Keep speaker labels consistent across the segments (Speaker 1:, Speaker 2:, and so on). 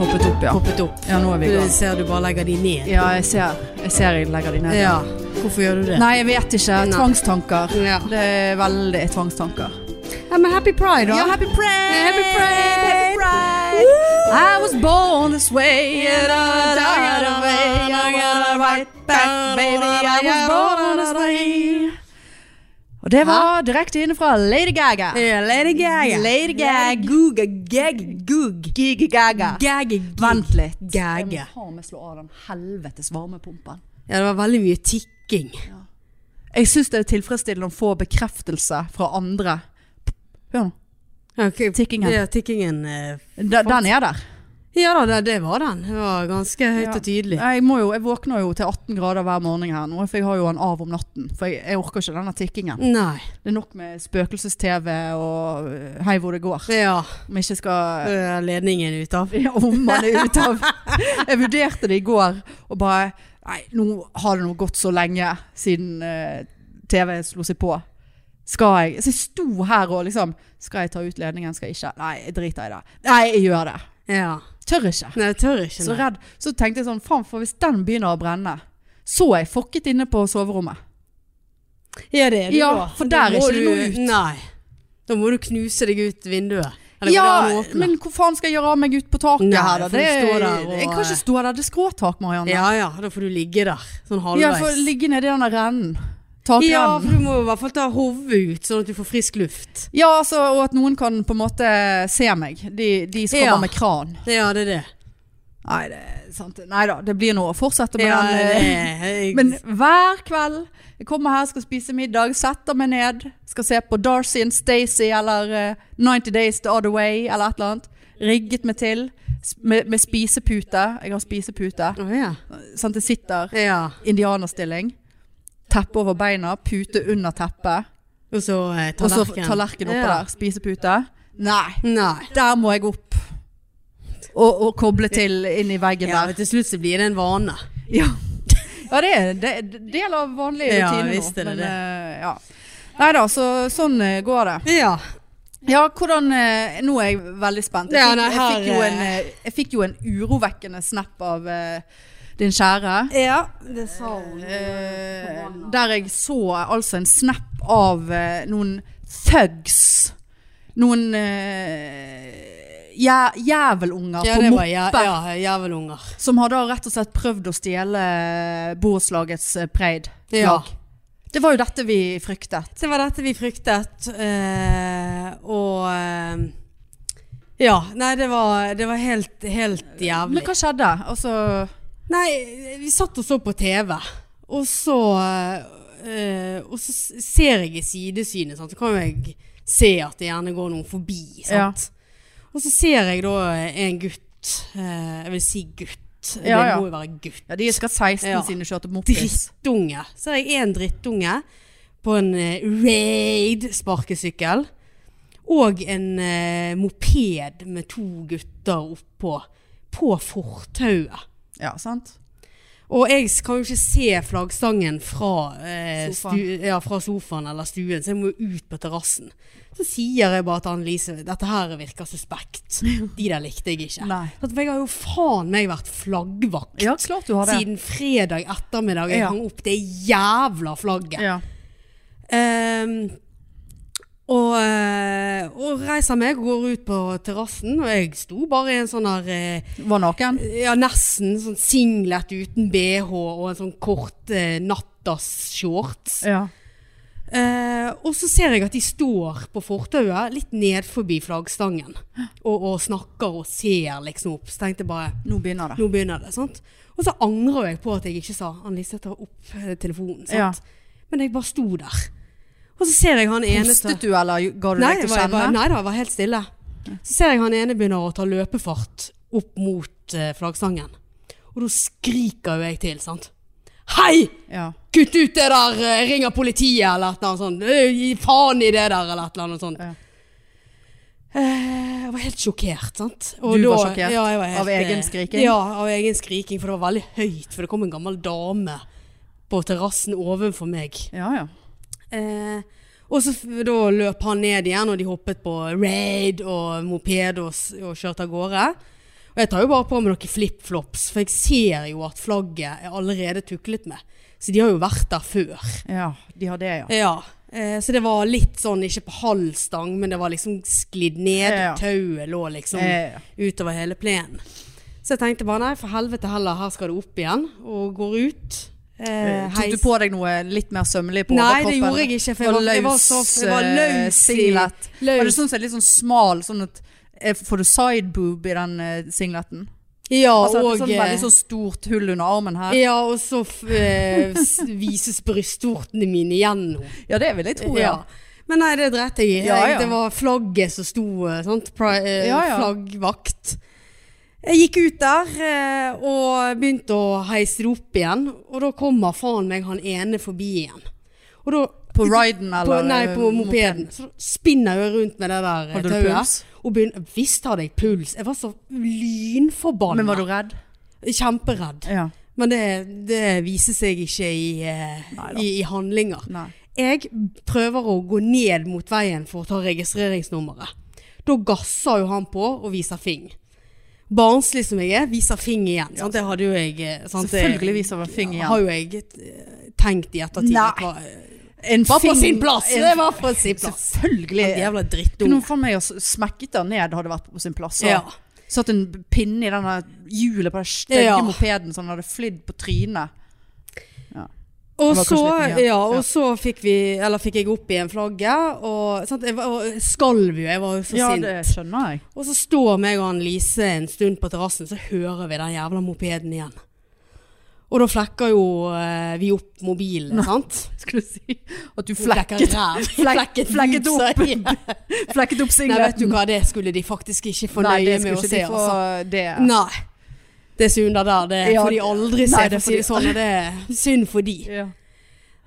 Speaker 1: poppet opp.
Speaker 2: Ja, nå er vi i
Speaker 1: Du
Speaker 2: gang.
Speaker 1: ser du bare legger de ned.
Speaker 2: Ja, jeg ser, jeg ser jeg legger de ned.
Speaker 1: Ja. Hvorfor gjør du det?
Speaker 2: Nei, jeg vet ikke.
Speaker 1: Nei.
Speaker 2: Tvangstanker.
Speaker 1: Ja.
Speaker 2: Det er veldig tvangstanker.
Speaker 1: Ja, men happy pride, da.
Speaker 2: Ja, happy pride!
Speaker 1: Happy pride!
Speaker 2: Happy pride! I was born this way and I died that way. I got a right back, baby. I was born this way. Og det var direkte inne fra Lady Gaga.
Speaker 1: Ja, Lady Gaga.
Speaker 2: Lady Gaga.
Speaker 1: Googa, gag, goog.
Speaker 2: Gigi Gaga.
Speaker 1: Gag, gig.
Speaker 2: Vent litt.
Speaker 1: Gaga.
Speaker 2: Jeg må faen meg slå av den helvetes varmepumpen.
Speaker 1: Ja, det var veldig mye tikking.
Speaker 2: Jeg syns det er tilfredsstillende å få bekreftelse fra andre. Hør nå.
Speaker 1: Okay.
Speaker 2: Tikkingen.
Speaker 1: Ja, tikkingen. eh,
Speaker 2: Da- Den er der.
Speaker 1: Ja da, det, det var den. Det var ganske høyt
Speaker 2: Ja.
Speaker 1: og tydelig.
Speaker 2: Jeg, må jo, jeg våkner jo til 18 grader hver morgen her nå, for jeg har jo den av om natten. For jeg, jeg orker ikke denne tikkingen.
Speaker 1: Nei.
Speaker 2: Det er nok med spøkelses-TV og øh, hei hvor det går.
Speaker 1: Ja.
Speaker 2: Om jeg ikke skal
Speaker 1: eh, Ledningen ut av.
Speaker 2: ja, om man er ute av Jeg vurderte det i går og bare Nei, nå har det nå gått så lenge siden eh, TV slo seg på. Skal jeg Så jeg sto her og liksom Skal jeg ta ut ledningen, skal jeg ikke? Nei, jeg driter i det. Nei, jeg gjør det.
Speaker 1: Ja.
Speaker 2: Tør ikke.
Speaker 1: Nei, jeg tør ikke.
Speaker 2: Så
Speaker 1: nei.
Speaker 2: redd. Så tenkte jeg sånn, faen for hvis den begynner å brenne, så er jeg fokket inne på soverommet.
Speaker 1: Ja, det er du
Speaker 2: Ja,
Speaker 1: da.
Speaker 2: for
Speaker 1: Da
Speaker 2: der er
Speaker 1: må
Speaker 2: ikke det noe
Speaker 1: du-
Speaker 2: ut.
Speaker 1: Nei. Da må du knuse deg ut vinduet. Eller
Speaker 2: Ja,
Speaker 1: går det an å åpne?
Speaker 2: men hvor faen skal jeg gjøre av meg ut på taket
Speaker 1: Nei,
Speaker 2: her da?
Speaker 1: for
Speaker 2: Det,
Speaker 1: du står der og-
Speaker 2: jeg kan ikke stå der, det er skråtak, Marianne.
Speaker 1: Ja ja, da får du ligge der. Sånn halvveis.
Speaker 2: jeg får ligge nede i denne rennen.
Speaker 1: Ja, for
Speaker 2: Takrennen.
Speaker 1: du må i hvert fall ta hodet ut, sånn at du får frisk luft.
Speaker 2: Ja, altså, og at noen kan på en måte se meg. De, de som
Speaker 1: Ja.
Speaker 2: kommer med kran.
Speaker 1: Ja, det er det.
Speaker 2: Nei, det, er sant. Nei da, det blir noe å fortsette med
Speaker 1: ja,
Speaker 2: den. eh,
Speaker 1: det er-
Speaker 2: Men hver kveld Jeg kommer her, skal spise middag, setter meg ned Skal se på Darcy and Stacey Eller eh, 90 Days the Other Way Eller et eller annet Rigget meg til s- med, med spisepute Jeg har spisepute
Speaker 1: Å, ja.
Speaker 2: Sånn at jeg sitter
Speaker 1: ja.
Speaker 2: Indianerstilling Teppe over beina Pute under teppet
Speaker 1: Og så eh,
Speaker 2: Og så
Speaker 1: tallerken.
Speaker 2: tallerken oppå
Speaker 1: Ja.
Speaker 2: der Spisepute Nei,
Speaker 1: Nei.
Speaker 2: der må jeg opp og, og koble til inn i veggen
Speaker 1: Ja,
Speaker 2: der
Speaker 1: til slutt så blir det en vane.
Speaker 2: Ja, ja det er det er en del av vanlig
Speaker 1: Ja,
Speaker 2: rutine nå.
Speaker 1: visst er
Speaker 2: men,
Speaker 1: det det.
Speaker 2: eh, ja. Nei da, så sånn eh, går det.
Speaker 1: Ja.
Speaker 2: Ja, hvordan eh, Nå er jeg veldig spent. Jeg
Speaker 1: Ja,
Speaker 2: fikk,
Speaker 1: nei,
Speaker 2: jeg fikk,
Speaker 1: her,
Speaker 2: jo,
Speaker 1: eh,
Speaker 2: en, eh, jeg fikk jo en urovekkende snap av eh, din kjære.
Speaker 1: det sa hun.
Speaker 2: eh, der jeg så altså en snap av eh, noen thugs. Noen eh, jæ jævelunger
Speaker 1: Ja,
Speaker 2: på
Speaker 1: det var
Speaker 2: moppe
Speaker 1: jæ ja, jævelunger.
Speaker 2: som har da rett og slett prøvd å stjele borettslagets eh, pride.
Speaker 1: Ja.
Speaker 2: Det var jo dette vi fryktet.
Speaker 1: Så det var dette vi fryktet. eh, og eh, Ja. Nei, det var, det var helt, helt jævlig.
Speaker 2: Men hva skjedde? Altså,
Speaker 1: Nei, vi satt og så på TV, og så, eh, og så s- ser jeg i sidesynet, sant? så kan jo jeg se at det gjerne går noen forbi. Sant? Og så ser jeg da en gutt, eh, jeg vil si gutt,
Speaker 2: Ja,
Speaker 1: det
Speaker 2: ja.
Speaker 1: må jo være gutt,
Speaker 2: ja, de er skatt 16
Speaker 1: Ja.
Speaker 2: siden de kjørte mopis.
Speaker 1: drittunge. Så er jeg en drittunge på en eh, Raid sparkesykkel, og en eh, moped med to gutter oppå, på fortauet.
Speaker 2: Ja, sant?
Speaker 1: Og jeg s- kan jo ikke se flaggstangen fra, eh,
Speaker 2: Sofaen.
Speaker 1: stu, ja, fra sofaen eller stuen, så jeg må jo ut på terrassen. Så sier jeg bare til Annelise dette her virker suspekt. De der likte jeg ikke.
Speaker 2: Nei.
Speaker 1: For at jeg har jo faen meg vært flaggvakt
Speaker 2: Ja, klart du har det.
Speaker 1: siden fredag ettermiddag jeg
Speaker 2: Ja.
Speaker 1: hang opp det jævla flagget.
Speaker 2: Ja.
Speaker 1: Ehm, og, eh, og reiser meg og går ut på terrassen, og jeg sto bare i en sånn her eh,
Speaker 2: Var naken?
Speaker 1: ja, nesten sånn singlet uten BH og en sånn kort eh, nattas-shorts.
Speaker 2: Ja.
Speaker 1: Eh, og så ser jeg at de står på fortauet, litt ned forbi flaggstangen, og, og snakker og ser liksom opp. Så tenkte jeg bare,
Speaker 2: Nå begynner det.
Speaker 1: nå begynner det, sant? Og så angrer jeg på at jeg ikke sa, Annelise, ta opp eh, telefonen,
Speaker 2: Ja.
Speaker 1: sant? Men jeg bare sto der. Og så ser jeg han ene... ta-
Speaker 2: Hostet du, eller ga du
Speaker 1: Nei,
Speaker 2: deg
Speaker 1: det
Speaker 2: til
Speaker 1: var, jeg
Speaker 2: kjenne?
Speaker 1: bare, nei da, jeg var helt stille. Så ser jeg han ene begynner å ta løpefart opp mot eh, flaggstangen. Og da skriker jo jeg til, sant. Hei!
Speaker 2: Ja.
Speaker 1: Kutt ut det der! eh, Ring av politiet, eller et eller annet sånt. Eh, Gi faen i det der, eller et eller annet sånt.
Speaker 2: Ja.
Speaker 1: Eh, jeg var helt sjokkert, sant.
Speaker 2: Du var sjokkert
Speaker 1: ja, jeg var helt,
Speaker 2: av egen
Speaker 1: eh,
Speaker 2: skriking?
Speaker 1: Ja, av egen skriking, for det var veldig høyt. For det kom en gammel dame på terrassen ovenfor meg.
Speaker 2: ja, ja.
Speaker 1: Eh, og så f- da løp han ned igjen, og de hoppet på raid og moped og, s- og kjørte av gårde. Og jeg tar jo bare på meg noen flipflops, for jeg ser jo at flagget er allerede tuklet med. Så de har jo vært der før.
Speaker 2: Ja, de har det, ja.
Speaker 1: Ja, eh, så det var litt sånn, ikke på halv stang, men det var liksom sklidd ned,
Speaker 2: Ja. Eh.
Speaker 1: tauet lå liksom
Speaker 2: Ja.
Speaker 1: utover hele plenen. Så jeg tenkte bare, nei, for helvete heller, her skal det opp igjen, og går ut. Eh,
Speaker 2: Tok du
Speaker 1: heis-
Speaker 2: på deg noe litt mer sømmelig på
Speaker 1: Nei,
Speaker 2: overkroppen?
Speaker 1: det gjorde jeg ikke, for jeg
Speaker 2: Og
Speaker 1: var- jeg var
Speaker 2: løs,
Speaker 1: så- jeg var løs
Speaker 2: eh,
Speaker 1: i-
Speaker 2: singlet.
Speaker 1: løs.
Speaker 2: Var det sånn som er litt sånn smal, sånn at eh, Får du side boob i den eh, singleten?
Speaker 1: Ja,
Speaker 2: Altså,
Speaker 1: og,
Speaker 2: og, sånn veldig
Speaker 1: eh,
Speaker 2: sånn stort hull under armen her.
Speaker 1: ja, og så f- eh, s- vises brystvortene mine gjennom.
Speaker 2: Ja, det vil jeg tro, ja.
Speaker 1: Ja. Men nei, det dreit jeg i.
Speaker 2: Ja, ja.
Speaker 1: Jeg- Det var flagget som sto eh, sant? Pri, eh,
Speaker 2: Ja, ja.
Speaker 1: Flaggvakt. Jeg gikk ut der eh, og begynte å heise det opp igjen. Og da kommer faen meg han ene forbi igjen. Og da
Speaker 2: På riden eller eh,
Speaker 1: på, nei, på mopeden. Så da spinner jeg rundt med det der eh,
Speaker 2: Hadde du
Speaker 1: tauet.
Speaker 2: puls?
Speaker 1: Og begynner, visst hadde jeg puls. Jeg var så lynforbanna.
Speaker 2: Men var du redd?
Speaker 1: Kjemperedd.
Speaker 2: Ja.
Speaker 1: Men det, det viser seg ikke i, eh,
Speaker 2: Neida.
Speaker 1: i, i handlinger.
Speaker 2: Nei.
Speaker 1: Jeg prøver å gå ned mot veien for å ta registreringsnummeret. Da gasser jo han på og viser fing. Barnslig som jeg er, viser fing igjen. sant? Det hadde jo jeg eh, sant? Det-
Speaker 2: Selvfølgelig viser han fing igjen.
Speaker 1: Har jo jeg eh, tenkt i ettertid.
Speaker 2: Nei.
Speaker 1: at var-
Speaker 2: En
Speaker 1: Var på
Speaker 2: fing-
Speaker 1: sin plass!
Speaker 2: en-
Speaker 1: Det var på sin plass.
Speaker 2: Selvfølgelig.
Speaker 1: En jævla
Speaker 2: Kunne
Speaker 1: drittdom.
Speaker 2: hun faen meg ha s- smekket den ned, hadde vært på sin plass. og
Speaker 1: Ja.
Speaker 2: Satt en pinne i den der hjulet på den stygge
Speaker 1: Ja.
Speaker 2: mopeden så den hadde flydd på trynet.
Speaker 1: Og
Speaker 2: Det var
Speaker 1: så,
Speaker 2: kanskje litt mye.
Speaker 1: ja, og
Speaker 2: Ja.
Speaker 1: så fikk, vi, eller fikk jeg opp igjen flagget, og sant? jeg var- og skalv jo, jeg var jo så
Speaker 2: ja,
Speaker 1: sint.
Speaker 2: det skjønner jeg.
Speaker 1: Og så står meg og han Lise en stund på terrassen, så hører vi den jævla mopeden igjen. Og da flekker jo eh, vi opp mobilen, sant?
Speaker 2: Skulle si at du
Speaker 1: Vi flekker
Speaker 2: flekket,
Speaker 1: ræv. Vi
Speaker 2: Flek-
Speaker 1: Flekket,
Speaker 2: flekket
Speaker 1: buksa
Speaker 2: opp.
Speaker 1: igjen.
Speaker 2: flekket opp
Speaker 1: Nei, vet du
Speaker 2: singleten.
Speaker 1: hva, det skulle de faktisk ikke få
Speaker 2: Nei,
Speaker 1: nøye
Speaker 2: det
Speaker 1: med å
Speaker 2: skulle ikke
Speaker 1: se.
Speaker 2: de få
Speaker 1: Altså.
Speaker 2: det.
Speaker 1: Nei. Det som er under der, det
Speaker 2: Ja,
Speaker 1: får de aldri se,
Speaker 2: nei, det
Speaker 1: for å si det sånn. Og det er synd for de.
Speaker 2: Ja.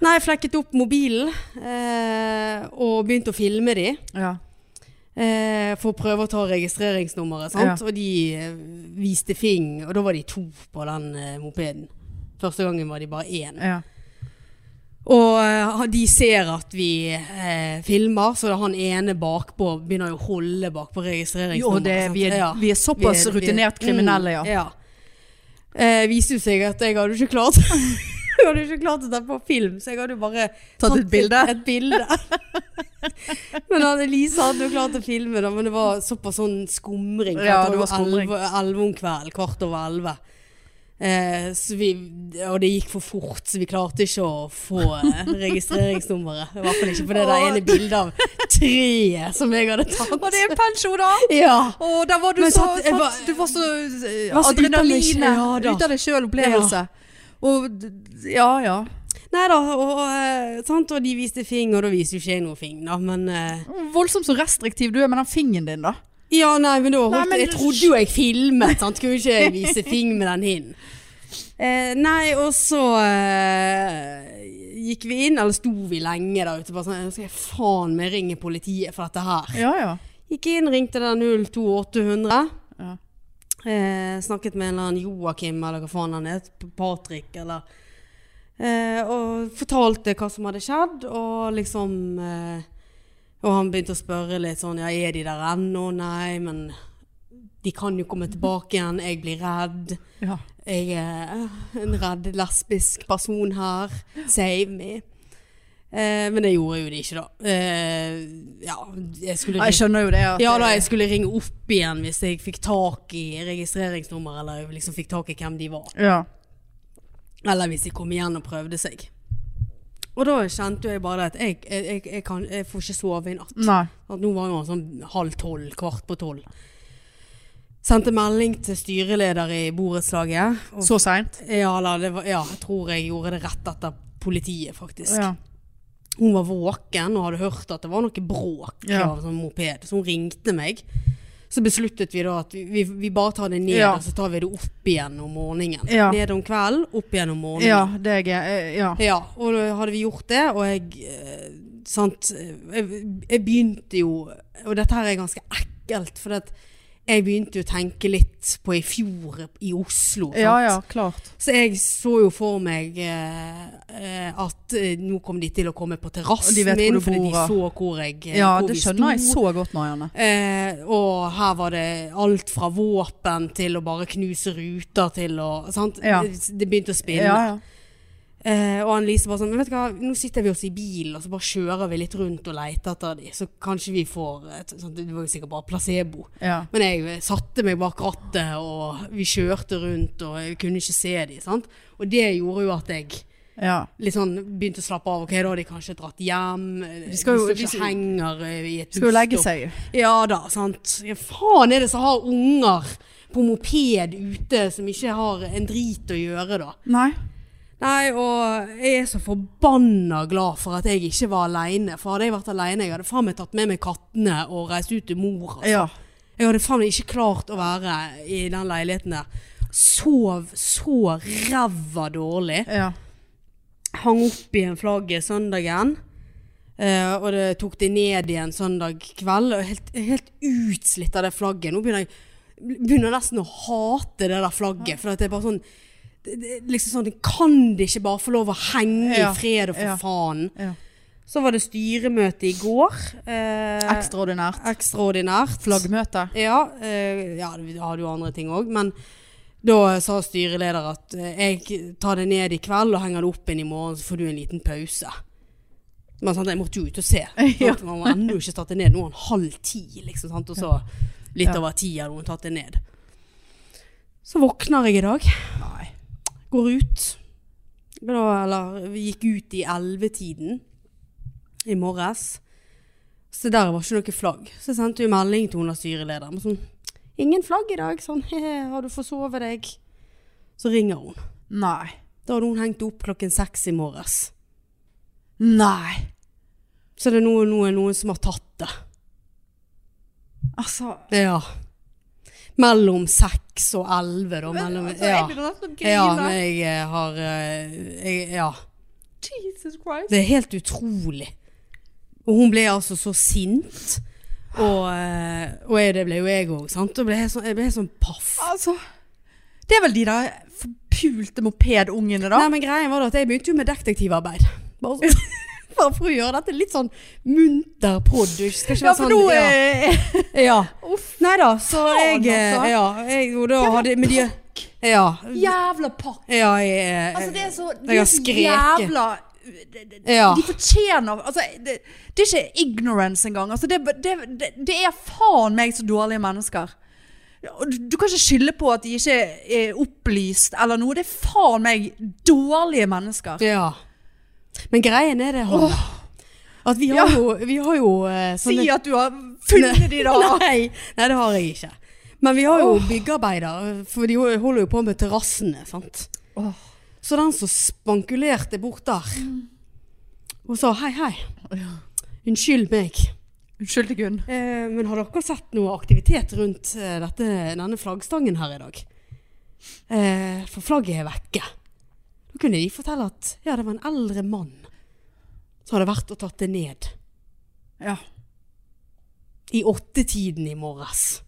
Speaker 1: Nei, jeg flekket opp mobilen eh, og begynte å filme de.
Speaker 2: Ja.
Speaker 1: Eh, for å prøve å ta registreringsnummeret, sant? Og de eh, viste fing, og da var de to på den eh, mopeden. Første gangen var de bare én.
Speaker 2: Ja.
Speaker 1: Og eh, de ser at vi eh, filmer, så han ene bakpå begynner jo å holde bakpå
Speaker 2: Jo,
Speaker 1: registreringsnummeret.
Speaker 2: det,
Speaker 1: sant?
Speaker 2: vi, er,
Speaker 1: Ja.
Speaker 2: vi er såpass
Speaker 1: Vi er- vi er-
Speaker 2: rutinert kriminelle, ja.
Speaker 1: Mm, ja. Eh, viste jo seg at jeg hadde jo ikke klart Jeg hadde jo ikke klart å ta på film, så jeg hadde jo bare
Speaker 2: Tatt et bilde?
Speaker 1: Et, et bilde. men Elise hadde jo klart å filme, da, men det var såpass sånn skumring. for
Speaker 2: Ja,
Speaker 1: jeg tror
Speaker 2: det var skumring.
Speaker 1: Elleve elleve om kvelden, kvart over elleve. Eh, så vi- og det gikk for fort, så vi klarte ikke å få eh, registreringsnummeret. I hvert fall ikke på det der
Speaker 2: Åh.
Speaker 1: ene bildet av treet som jeg hadde
Speaker 2: Å,
Speaker 1: tatt.
Speaker 2: det er en pensjon, da!
Speaker 1: Ja.
Speaker 2: Å, der var du
Speaker 1: Men
Speaker 2: så,
Speaker 1: sant, jeg
Speaker 2: sant,
Speaker 1: var-
Speaker 2: Du var så, eh,
Speaker 1: var så ute av meg selv,
Speaker 2: Adrenalinet.
Speaker 1: ja da.
Speaker 2: Ute av deg sjøl-opplevelse. Og d- d- Ja, ja.
Speaker 1: Nei da, og, eh, sant, og de viste fing, og da viste jo ikke jeg noe fing, da, men eh,
Speaker 2: Voldsomt så restriktiv du er med den fingeren din, da.
Speaker 1: Ja, nei, men da holdt
Speaker 2: Nei, men
Speaker 1: Jeg
Speaker 2: du-
Speaker 1: trodde jo jeg filmet, sant, kunne ikke jeg vise fing med den hinnen. Eh, nei, og så eh, gikk vi inn, eller sto vi lenge der ute, bare sånn Nå skal jeg faen meg ringe politiet for dette her.
Speaker 2: Ja, ja.
Speaker 1: Gikk inn, ringte der 02800.
Speaker 2: Ja.
Speaker 1: Eh, snakket med en eller annen Joakim, eller hva faen han het. Patrick, eller eh, Og fortalte hva som hadde skjedd, og liksom eh, Og han begynte å spørre litt sånn Ja, er de der ennå? Nei, men de kan jo komme tilbake igjen. Jeg blir redd.
Speaker 2: ja.
Speaker 1: Jeg er en redd lesbisk person her. Save me. Eh, men det gjorde jo de ikke, da. Eh, ja, jeg skulle
Speaker 2: Ja, Jeg skjønner jo det. At
Speaker 1: ja da, jeg skulle ringe opp igjen hvis jeg fikk tak i registreringsnummer, eller liksom fikk tak i hvem de var.
Speaker 2: Ja.
Speaker 1: Eller hvis de kom igjen og prøvde seg. Og da kjente jo jeg bare det at jeg, jeg, jeg, jeg, kan, jeg får ikke sove i natt.
Speaker 2: Nei.
Speaker 1: At nå var jo han sånn halv tolv, kvart på tolv. Sendte melding til styreleder i borettslaget. og-
Speaker 2: Så seint?
Speaker 1: Ja, eller det var, ja, jeg tror jeg gjorde det rett etter politiet, faktisk.
Speaker 2: Ja.
Speaker 1: Hun var våken og hadde hørt at det var noe bråk
Speaker 2: Ja.
Speaker 1: av en sånn moped, så hun ringte meg. Så besluttet vi da at vi, vi, vi bare tar det ned,
Speaker 2: Ja.
Speaker 1: og så tar vi det opp igjen om morgenen.
Speaker 2: Ja.
Speaker 1: Ned om kvelden, opp igjen om morgenen.
Speaker 2: ja, det er jeg. eh, Ja.
Speaker 1: Ja, og da hadde vi gjort det, og jeg eh, Sant. Jeg, jeg begynte jo Og dette her er ganske ekkelt, for at jeg begynte jo å tenke litt på i fjor i Oslo. Sant?
Speaker 2: Ja ja, klart.
Speaker 1: Så jeg så jo for meg eh, eh, at eh, nå kom de til å komme på terrassen
Speaker 2: Og de vet hvor
Speaker 1: min,
Speaker 2: du
Speaker 1: fordi de
Speaker 2: bor, og-
Speaker 1: så hvor jeg eh,
Speaker 2: Ja,
Speaker 1: hvor
Speaker 2: det
Speaker 1: vi
Speaker 2: skjønner jeg
Speaker 1: sto.
Speaker 2: så godt, Marianne.
Speaker 1: Eh, og her var det alt fra våpen til å bare knuse ruter til å sant?
Speaker 2: Ja.
Speaker 1: Det det begynte å spille.
Speaker 2: Ja, ja.
Speaker 1: Eh, og Annelise bare sånn Men vet du hva, nå sitter vi oss i bilen, og så bare kjører vi litt rundt og leter etter de, så kanskje vi får et, sånt, Det var jo sikkert bare placebo.
Speaker 2: ja.
Speaker 1: Men jeg eh, satte meg bak rattet, og vi kjørte rundt, og jeg kunne ikke se de, sant. Og det gjorde jo at jeg
Speaker 2: ja.
Speaker 1: litt sånn begynte å slappe av. Ok, da har de kanskje dratt hjem. eh,
Speaker 2: De skal jo-
Speaker 1: de står
Speaker 2: de-
Speaker 1: ikke og henger eh, i et
Speaker 2: Skal jo legge
Speaker 1: busstopp.
Speaker 2: seg.
Speaker 1: Ja da, sant. Hva faen er det som har unger på moped ute som ikke har en drit å gjøre, da?
Speaker 2: Nei.
Speaker 1: Nei, og jeg er så forbanna glad for at jeg ikke var aleine. For hadde jeg vært aleine, jeg hadde faen meg tatt med meg kattene og reist ut til mor. Altså.
Speaker 2: Ja.
Speaker 1: Jeg hadde faen meg ikke klart å være i den leiligheten der. Sov så ræva dårlig
Speaker 2: ja.
Speaker 1: hang opp igjen flagget søndagen. eh, og det tok det ned igjen søndag kveld. Og helt, helt utslitt av det flagget. Nå begynner jeg begynner nesten å hate det der flagget. For at det er bare sånn det, det, er liksom sånn, Kan det ikke bare få lov å henge
Speaker 2: Ja,
Speaker 1: i fred, og for
Speaker 2: ja.
Speaker 1: faen?
Speaker 2: Ja.
Speaker 1: Så var det styremøte i går. eh,
Speaker 2: Ekstraordinært.
Speaker 1: ekstraordinært.
Speaker 2: Flaggmøte.
Speaker 1: Ja, eh, ja, vi hadde jo andre ting òg, men da sa styreleder at eh, jeg tar det ned i kveld og henger det opp inn i morgen, så får du en liten pause. Men sant, jeg måtte jo ut og se.
Speaker 2: Ja.
Speaker 1: Sant? Man må ennå ikke tatt det ned. Nå er han halv ti, liksom. Sant? Og så litt
Speaker 2: Ja.
Speaker 1: over ti hadde hun tatt det ned. Så våkner jeg i dag.
Speaker 2: Nei.
Speaker 1: Går ut. Da, eller vi gikk ut i ellevetiden i morges. Så der var ikke noe flagg. Så jeg sendte jo melding til hun av styrelederen. og Sånn, 'Ingen flagg i dag.' Sånn, «Hehe, 'Har du forsovet deg?' Så ringer hun.
Speaker 2: Nei.
Speaker 1: Da hadde hun hengt opp klokken seks i morges.
Speaker 2: Nei.
Speaker 1: Så det er noe- noe- noen som har tatt det.
Speaker 2: Altså,
Speaker 1: Ja. Mellom seks og elleve, da. Mellom,
Speaker 2: altså
Speaker 1: ja.
Speaker 2: Jeg begynner nesten å grine.
Speaker 1: ja, men jeg eh, har eh, jeg, Ja.
Speaker 2: Jesus Christ.
Speaker 1: Det er helt utrolig. Og hun ble altså så sint. Og, eh, og jeg, det ble jo jeg òg, sant. Og ble jeg, sånn, jeg ble helt sånn paff.
Speaker 2: Altså. Det er vel de der forpulte mopedungene, da?
Speaker 1: Nei, men greien var det at jeg begynte jo med detektivarbeid. Bare, sånn, bare for å gjøre dette litt sånn munter podd. Du skal ikke
Speaker 2: ja,
Speaker 1: være
Speaker 2: for
Speaker 1: sånn
Speaker 2: nå
Speaker 1: ja.
Speaker 2: er
Speaker 1: ja.
Speaker 2: Uff.
Speaker 1: Nei da, så
Speaker 2: Faen,
Speaker 1: jeg eh,
Speaker 2: altså.
Speaker 1: Ja. Jeg, og da hadde men de, Ja.
Speaker 2: Jævla pakk.
Speaker 1: Ja, jeg, eh,
Speaker 2: Altså, det er så,
Speaker 1: jeg
Speaker 2: de
Speaker 1: har
Speaker 2: er så
Speaker 1: skreket.
Speaker 2: jævla de, de,
Speaker 1: Ja.
Speaker 2: de fortjener altså, det, det er ikke ignorance engang. Altså, det, det, det, det er faen meg så dårlige mennesker. Og Du, du kan ikke skylde på at de ikke er opplyst eller noe. Det er faen meg dårlige mennesker.
Speaker 1: Ja. Men greien er det, Hanne, at vi har
Speaker 2: Ja.
Speaker 1: jo, vi har jo eh, sånne
Speaker 2: Si at du har funnet de da!
Speaker 1: Nei, nei, det har jeg ikke. Men vi har jo byggearbeider, for de holder jo på med terrassene, sant.
Speaker 2: Åh.
Speaker 1: Så den som spankulerte bort der og sa hei, hei, unnskyld meg.
Speaker 2: Unnskyld, Gunn.
Speaker 1: Eh, men har dere sett noe aktivitet rundt eh, dette, denne flaggstangen her i dag? Eh, for flagget er vekke. Da kunne de fortelle at ja, det var en eldre mann som hadde vært og tatt det ned
Speaker 2: Ja.
Speaker 1: i åttetiden i morges.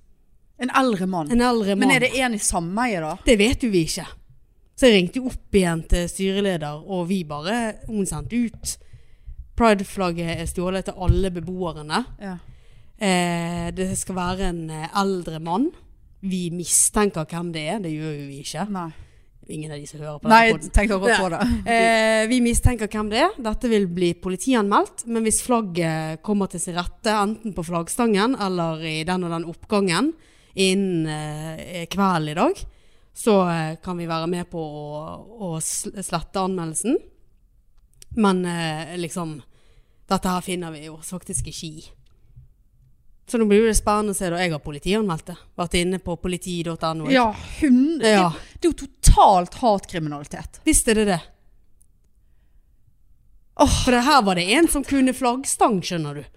Speaker 2: En eldre mann.
Speaker 1: En eldre mann.
Speaker 2: Men er det en i sameie, da?
Speaker 1: Det vet jo vi ikke. Så jeg ringte jo opp igjen til styreleder, og vi bare Hun sendte ut. Pride-flagget er stjålet til alle beboerne.
Speaker 2: Ja.
Speaker 1: Eh, det skal være en eh, eldre mann. Vi mistenker hvem det er, det gjør jo vi ikke.
Speaker 2: Nei.
Speaker 1: Ingen av de som hører på
Speaker 2: Nei,
Speaker 1: den
Speaker 2: jeg
Speaker 1: podden.
Speaker 2: tenkte akkurat på det.
Speaker 1: Eh, vi mistenker hvem det er. Dette vil bli politianmeldt. Men hvis flagget kommer til sin rette, enten på flaggstangen eller i den og den oppgangen innen eh, kvelden i dag, så eh, kan vi være med på å, å sl- slette anmeldelsen. Men eh, liksom Dette her finner vi jo faktisk ikke i. Så nå blir det spennende å se. da. Jeg har politianmeldt det. Vært inne på politi.no.
Speaker 2: Ja, hun
Speaker 1: Ja.
Speaker 2: Det, det er jo totalt hatkriminalitet.
Speaker 1: Visst er det det. For det her var det en som kunne flaggstang, skjønner du.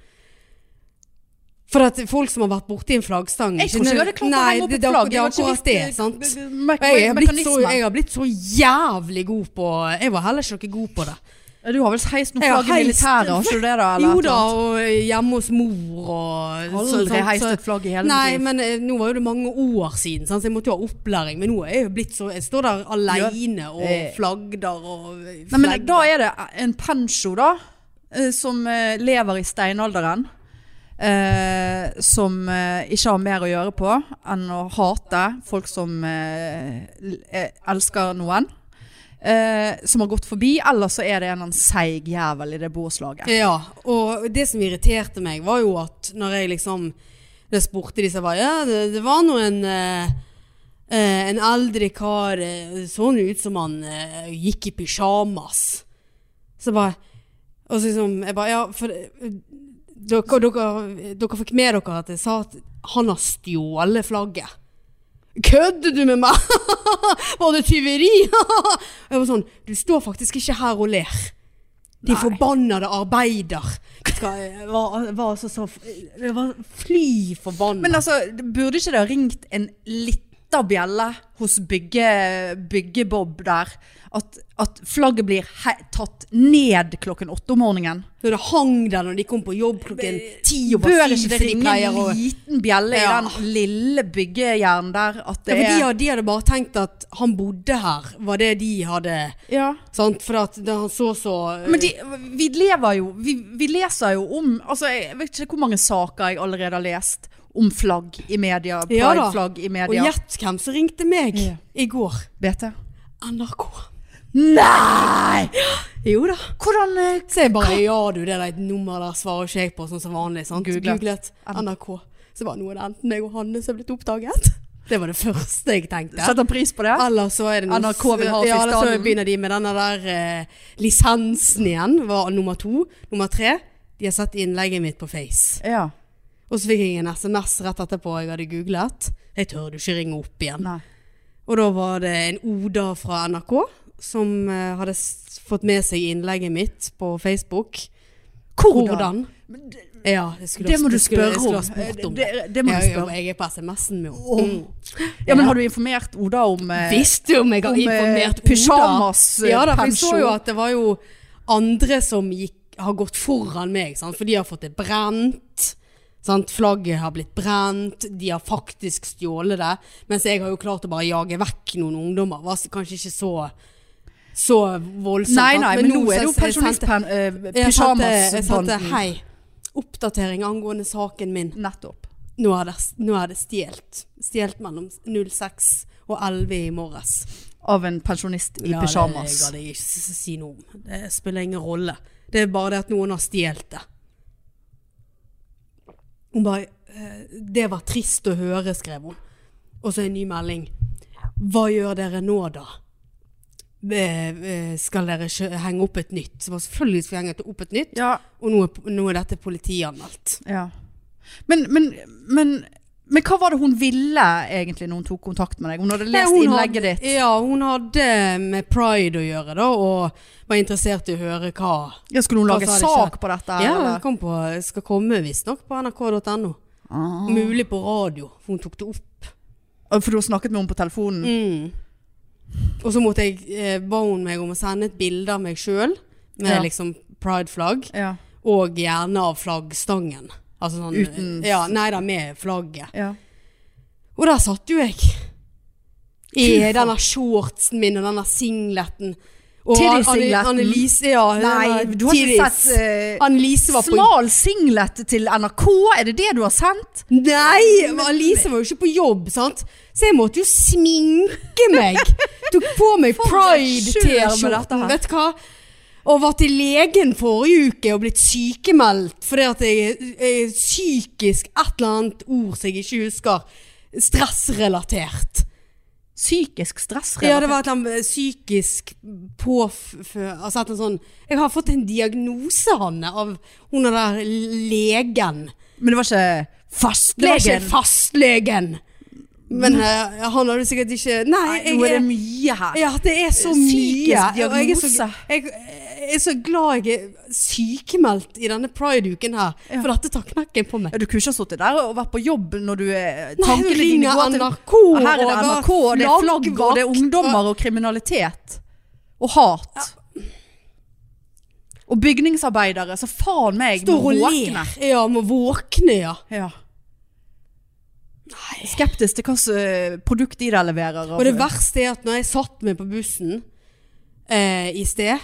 Speaker 1: For at folk som har vært borti en flaggstang
Speaker 2: Jeg tror ikke jeg hadde klart å henge
Speaker 1: Nei,
Speaker 2: opp
Speaker 1: det,
Speaker 2: et
Speaker 1: det,
Speaker 2: flagg.
Speaker 1: det er
Speaker 2: var
Speaker 1: akkurat det. sant?
Speaker 2: ikke eh,
Speaker 1: Og jeg, har blitt så,
Speaker 2: mekanisme.
Speaker 1: jeg har blitt så jævlig god på Jeg var heller ikke noe god på det.
Speaker 2: Ja, Du har vel heist noen
Speaker 1: Jeg har
Speaker 2: flagg i
Speaker 1: heist-
Speaker 2: militæret, har ikke du det da? eller
Speaker 1: Jo
Speaker 2: et eller
Speaker 1: da,
Speaker 2: annet?
Speaker 1: og hjemme hos mor og sånn,
Speaker 2: Aldri
Speaker 1: sant,
Speaker 2: heist
Speaker 1: så-
Speaker 2: et flagg i hele mitt
Speaker 1: Nei,
Speaker 2: liv.
Speaker 1: men eh, nå var jo det mange år siden, sant, så jeg måtte jo ha opplæring. Men nå er jeg jo blitt så Jeg står der aleine
Speaker 2: Eh.
Speaker 1: og flagder og eh,
Speaker 2: Nei, men da
Speaker 1: flegger.
Speaker 2: er det en pensjo da, eh, som eh, lever i steinalderen, eh, som eh, ikke har mer å gjøre på enn å hate folk som eh, l- eh, elsker noen, eh, som har gått forbi, eller så er det en eller annen seig jævel i det borettslaget.
Speaker 1: Ja, og det som irriterte meg, var jo at når jeg liksom Da jeg spurte de, så bare Ja, det, det var nå en eh, eh, En eldre kar eh, så nå ut som han eh, gikk i pysjamas. Så bare Og så liksom Jeg bare Ja, for eh, dere, dere, dere fikk med dere at jeg sa at han har stjålet flagget. Kødder du med meg?! Var det tyveri?! jeg var sånn Du står faktisk ikke her og ler. De forbannede arbeider. Skal, jeg var, var så, så, jeg var fly forbanna.
Speaker 2: Men altså, burde ikke det ha ringt en lita bjelle hos bygge, byggebob der, at, at flagget blir he tatt ned klokken åtte om morgenen?
Speaker 1: Når det hang der når de kom på jobb klokken ti over
Speaker 2: Bør
Speaker 1: syv.
Speaker 2: ikke det
Speaker 1: for de
Speaker 2: ringe
Speaker 1: pleier
Speaker 2: en
Speaker 1: å-
Speaker 2: liten bjelle
Speaker 1: Ja.
Speaker 2: i den lille byggejern der at
Speaker 1: Ja,
Speaker 2: det
Speaker 1: for de,
Speaker 2: er
Speaker 1: hadde- de hadde bare tenkt at han bodde her, var det de hadde
Speaker 2: ja.
Speaker 1: Sant? For at det, han så så eh,
Speaker 2: Men de, vi lever jo vi, vi leser jo om altså Jeg vet ikke hvor mange saker jeg allerede har lest om flagg i media.
Speaker 1: Ja da.
Speaker 2: Pride-flagg i
Speaker 1: Og
Speaker 2: media.
Speaker 1: gjett hvem som ringte meg
Speaker 2: Ja.
Speaker 1: i går.
Speaker 2: BT.
Speaker 1: NRK.
Speaker 2: Nei!
Speaker 1: Jo da.
Speaker 2: Hvordan eh,
Speaker 1: Så jeg bare ja du, det er et nummer der svarer ikke jeg på sånn som vanlig. Sant?
Speaker 2: Googlet.
Speaker 1: Googlet NRK. Så var det noe det enten meg og Hanne som er blitt oppdaget. Det var det første jeg tenkte.
Speaker 2: Setter pris på det?
Speaker 1: Eller så er det noe
Speaker 2: NRK vil ha oss i
Speaker 1: ja, eller så
Speaker 2: staden.
Speaker 1: begynner de med denne der eh, lisensen igjen, var nummer to. Nummer tre, de har sett innlegget mitt på Face.
Speaker 2: Ja.
Speaker 1: Og så fikk jeg en SMS rett etterpå jeg hadde googlet. Jeg tør du ikke ringe opp igjen.
Speaker 2: Nei.
Speaker 1: Og da var det en Oda fra NRK som eh, hadde s fått med seg innlegget mitt på Facebook. Hvordan? Ja, jeg skulle
Speaker 2: Det
Speaker 1: ha-
Speaker 2: må du
Speaker 1: jeg skulle-
Speaker 2: spørre
Speaker 1: jeg
Speaker 2: om. Eh,
Speaker 1: skulle ha spurt om.
Speaker 2: Det, det må
Speaker 1: Ja,
Speaker 2: du
Speaker 1: jo,
Speaker 2: spørre.
Speaker 1: jeg er på SMS-en min.
Speaker 2: Om- Ja, men har du informert Oda om eh,
Speaker 1: Visste jo om jeg har
Speaker 2: om, eh,
Speaker 1: informert Oda.
Speaker 2: pyjamas, eh,
Speaker 1: Ja da, for jeg så
Speaker 2: pensjon.
Speaker 1: jo at det var jo andre som gikk, har gått foran meg, sant? for de har fått det brent. Sant? Flagget har blitt brent, de har faktisk stjålet det. Mens jeg har jo klart å bare jage vekk noen ungdommer. Var s- kanskje ikke så, så voldsomt.
Speaker 2: Nei,
Speaker 1: sant?
Speaker 2: nei, men, nå er det jo eh,
Speaker 1: så- jeg sendte- jeg sendte- Jeg sendte
Speaker 2: pensjonistpyjamasbånden.
Speaker 1: hei, oppdatering angående saken min.
Speaker 2: Nettopp.
Speaker 1: Nå er det, nå er det stjelt. Stjelt mellom 06 og 11 i morges.
Speaker 2: Av en pensjonist i pysjamas.
Speaker 1: Ja, det jeg gadd jeg ikke s- si noe om. Det spiller ingen rolle. Det er bare det at noen har stjålet det. Hun bare eh, Det var trist å høre, skrev hun. Og så en ny melding. Hva gjør dere nå, da? Eh, eh, Skal dere kjø- henge opp et nytt? Så selvfølgelig skal vi henge opp et nytt.
Speaker 2: Ja,
Speaker 1: Og nå er, nå er dette politianmeldt.
Speaker 2: ja. Men, men, men, men hva var det hun ville egentlig når hun tok kontakt med deg? Hun hadde lest
Speaker 1: Nei, hun
Speaker 2: innlegget
Speaker 1: hadde-
Speaker 2: ditt.
Speaker 1: Ja, hun hadde med pride å gjøre, da. Og var interessert i å høre hva
Speaker 2: Ja, skulle hun
Speaker 1: Hva
Speaker 2: lage
Speaker 1: sa det
Speaker 2: sak på dette?
Speaker 1: Ja,
Speaker 2: eller?
Speaker 1: det kom på, skal komme visstnok på nrk.no.
Speaker 2: Ah.
Speaker 1: Mulig på radio, for hun tok det opp.
Speaker 2: For du har snakket med henne på telefonen?
Speaker 1: Og så måtte jeg, eh, ba hun meg om å sende et bilde av meg sjøl, med
Speaker 2: Ja.
Speaker 1: liksom pride-flagg,
Speaker 2: Ja.
Speaker 1: og gjerne av flaggstangen. Altså sånn
Speaker 2: Uten-
Speaker 1: Ja, nei da, med flagget.
Speaker 2: ja.
Speaker 1: Og der satt jo jeg. I
Speaker 2: Fy faen.
Speaker 1: denne shortsen min og denne singleten. Og
Speaker 2: Tiddy-singleten?
Speaker 1: Anne- Annelise, ja.
Speaker 2: Nei,
Speaker 1: denne
Speaker 2: du har ikke
Speaker 1: Tiddys.
Speaker 2: sett eh,
Speaker 1: Annelise var på
Speaker 2: Smal singlet til NRK, er det det du har sendt?
Speaker 1: Nei, Alice var jo ikke på jobb, sant? Så jeg måtte jo sminke meg. Tok på meg
Speaker 2: For et kjør med dette
Speaker 1: pride-T-skjorten,
Speaker 2: her.
Speaker 1: vet du hva? Og var til legen forrige uke og blitt sykemeldt fordi at jeg er psykisk et eller annet ord som jeg ikke husker. Stressrelatert.
Speaker 2: Psykisk stress?
Speaker 1: Ja, det var et eller annet psykisk påfør... Altså et eller annet sånn Jeg har fått en diagnose, Hanne, av hun der legen.
Speaker 2: Men det var ikke
Speaker 1: Det var ikke
Speaker 2: fastlegen?
Speaker 1: fastlegen. Men eh, han hadde sikkert ikke Nei,
Speaker 2: Mm. Nei,
Speaker 1: jeg,
Speaker 2: nå er det
Speaker 1: er-
Speaker 2: mye her.
Speaker 1: ja, det er så
Speaker 2: Psykisk
Speaker 1: mye. og Jeg er så,
Speaker 2: diagnose.
Speaker 1: jeg, jeg er så glad jeg er sykemeldt i denne prideuken her, for dette tar knekken på meg.
Speaker 2: Ja, Du kunne ikke ha sittet der og vært på jobb når du eh, er
Speaker 1: Nei,
Speaker 2: tankene
Speaker 1: hun
Speaker 2: dine
Speaker 1: ringer
Speaker 2: går til
Speaker 1: NRK,
Speaker 2: Her er det
Speaker 1: og
Speaker 2: NRK, og det er flagg, og det er
Speaker 1: flaggvakt,
Speaker 2: ungdommer og kriminalitet. Og hat. Og bygningsarbeidere, så faen meg
Speaker 1: Står
Speaker 2: må
Speaker 1: og
Speaker 2: våkne.
Speaker 1: ler. Ja, må våkne, ja.
Speaker 2: Ja.
Speaker 1: Nei.
Speaker 2: Skeptisk til hva slags produkt de der leverer.
Speaker 1: Og det verste er at når jeg satt meg på bussen eh, i sted,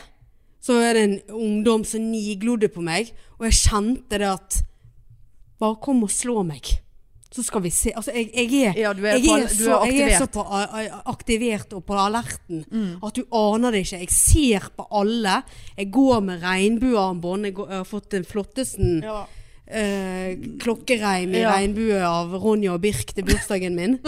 Speaker 1: så var det en ungdom som niglodde på meg, og jeg kjente det at Bare kom og slå meg. Så skal vi se. Altså, jeg, jeg er,
Speaker 2: Ja, du er
Speaker 1: jeg
Speaker 2: på-
Speaker 1: er
Speaker 2: du
Speaker 1: så,
Speaker 2: er
Speaker 1: jeg er
Speaker 2: aktivert.
Speaker 1: så
Speaker 2: Mm.
Speaker 1: på, a- a- aktivert og på alerten at du aner det ikke. Jeg ser på alle. Jeg går med regnbuearmbånd. Jeg, går- jeg har fått den flottesten
Speaker 2: Ja.
Speaker 1: eh, klokkereim i
Speaker 2: Ja.
Speaker 1: regnbue av Ronja og Birk til bursdagen min.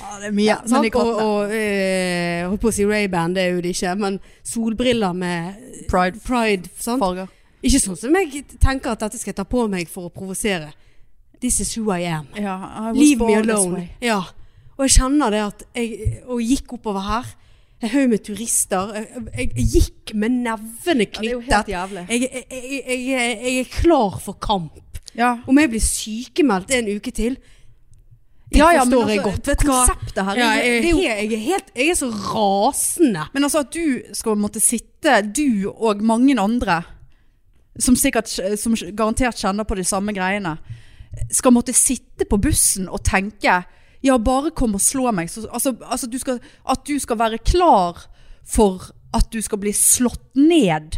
Speaker 2: Ja, det er mye. men
Speaker 1: Sant?
Speaker 2: de kan
Speaker 1: og og eh, jeg holdt på å si Ray-Ban, det er jo det ikke, men solbriller med
Speaker 2: pride
Speaker 1: pride. Sant?
Speaker 2: farger.
Speaker 1: Ikke sånn som jeg tenker at dette skal jeg ta på meg for å provosere. This is who I am.
Speaker 2: Ja, I was
Speaker 1: Leave me
Speaker 2: born this
Speaker 1: alone.
Speaker 2: way.
Speaker 1: Ja. Og jeg kjenner det at jeg og gikk oppover her. En haug med turister. Jeg, jeg, jeg gikk med nevene
Speaker 2: Ja, det er jo
Speaker 1: knyttet.
Speaker 2: helt jævlig.
Speaker 1: jeg, jeg, jeg, jeg, jeg er klar for kamp.
Speaker 2: Ja,
Speaker 1: Om jeg blir sykemeldt en uke til, det
Speaker 2: ja, ja men
Speaker 1: forstår
Speaker 2: altså,
Speaker 1: jeg godt. Vet du hva?
Speaker 2: konseptet her
Speaker 1: Ja,
Speaker 2: er-
Speaker 1: jeg,
Speaker 2: det er
Speaker 1: er
Speaker 2: jo
Speaker 1: helt, jeg, er helt, jeg er så rasende.
Speaker 2: Men altså at du skal måtte sitte, du og mange andre, som, sikkert, som garantert kjenner på de samme greiene, skal måtte sitte på bussen og tenke Ja, bare kom og slå meg. Så, altså, altså du skal, at du skal være klar for at du skal bli slått ned.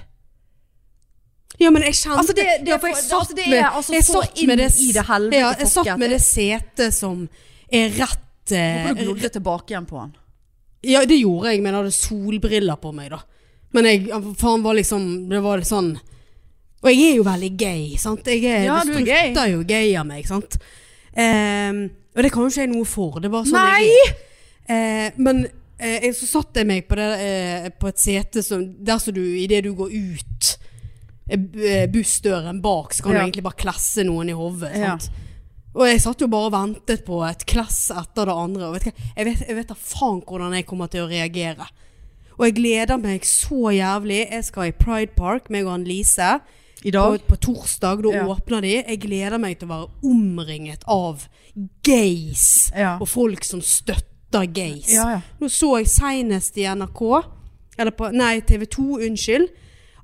Speaker 1: Ja, men jeg kjente
Speaker 2: Altså, det- det-
Speaker 1: ja, for jeg
Speaker 2: det-
Speaker 1: satt
Speaker 2: altså, det er
Speaker 1: med-
Speaker 2: altså
Speaker 1: jeg
Speaker 2: så
Speaker 1: satt
Speaker 2: inn
Speaker 1: med
Speaker 2: i det helvete,
Speaker 1: Ja, jeg satt
Speaker 2: folket.
Speaker 1: med det setet som er rett eh,
Speaker 2: Og du glodde tilbake igjen på han.
Speaker 1: Ja, det gjorde jeg, men jeg hadde solbriller på meg, da. Men jeg faen var liksom Det var litt sånn Og jeg er jo veldig gay, sant. Jeg er,
Speaker 2: Ja,
Speaker 1: det
Speaker 2: du er gay.
Speaker 1: strutter jo gay av meg, sant. Ehm, og det kan jo ikke jeg noe for. Det er bare sånn
Speaker 2: Nei!
Speaker 1: jeg er. Eh, men eh, jeg- så satt jeg meg på, det, eh, på et sete som, der som du, i det du går ut eh, b- eh, bussdøren bak, så kan
Speaker 2: Ja.
Speaker 1: du egentlig bare klesse noen i hovedet.
Speaker 2: Ja.
Speaker 1: sant? Og jeg satt jo bare og ventet på et klass etter det andre. Og vet du hva? Jeg vet, jeg vet da faen hvordan jeg kommer til å reagere. Og jeg gleder meg så jævlig. Jeg skal i Pride Park, meg og Annelise.
Speaker 2: I
Speaker 1: På,
Speaker 2: dag.
Speaker 1: på torsdag, da
Speaker 2: Ja.
Speaker 1: åpner de. Jeg gleder meg til å være omringet av gays
Speaker 2: Ja.
Speaker 1: og folk som støtter gays.
Speaker 2: Ja, ja.
Speaker 1: Nå så jeg senest i NRK, eller på, nei, TV 2, unnskyld,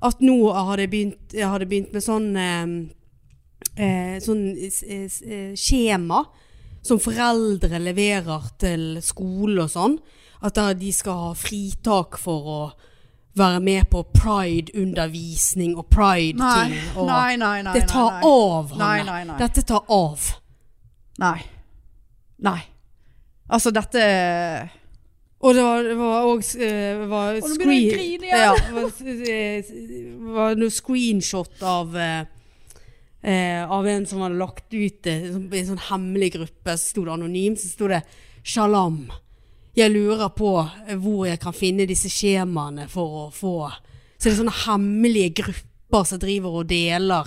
Speaker 1: at nå har det begynt, har det begynt med sånn, eh, eh, sånn s- s- eh, skjema som foreldre leverer til skole og sånn. At der de skal ha fritak for å være med på pride-undervisning og
Speaker 2: Nei,
Speaker 1: pride-ting. og-
Speaker 2: nei, nei, nei.
Speaker 1: Det tar
Speaker 2: nei, nei.
Speaker 1: av,
Speaker 2: Nei,
Speaker 1: Hanne.
Speaker 2: nei, nei.
Speaker 1: Dette tar av.
Speaker 2: Nei. Nei. Altså, dette
Speaker 1: Og det var, det var også eh, var
Speaker 2: nå
Speaker 1: screen-
Speaker 2: begynner jeg å grine igjen.
Speaker 1: Ja, det var, eh, var noe screenshot av eh, eh, Av en som hadde lagt ut det som- i en sånn hemmelig gruppe. Så sto det anonym, så sto det 'Shalom'. Jeg lurer på eh, hvor jeg kan finne disse skjemaene for å få Så det er sånne hemmelige grupper som driver og deler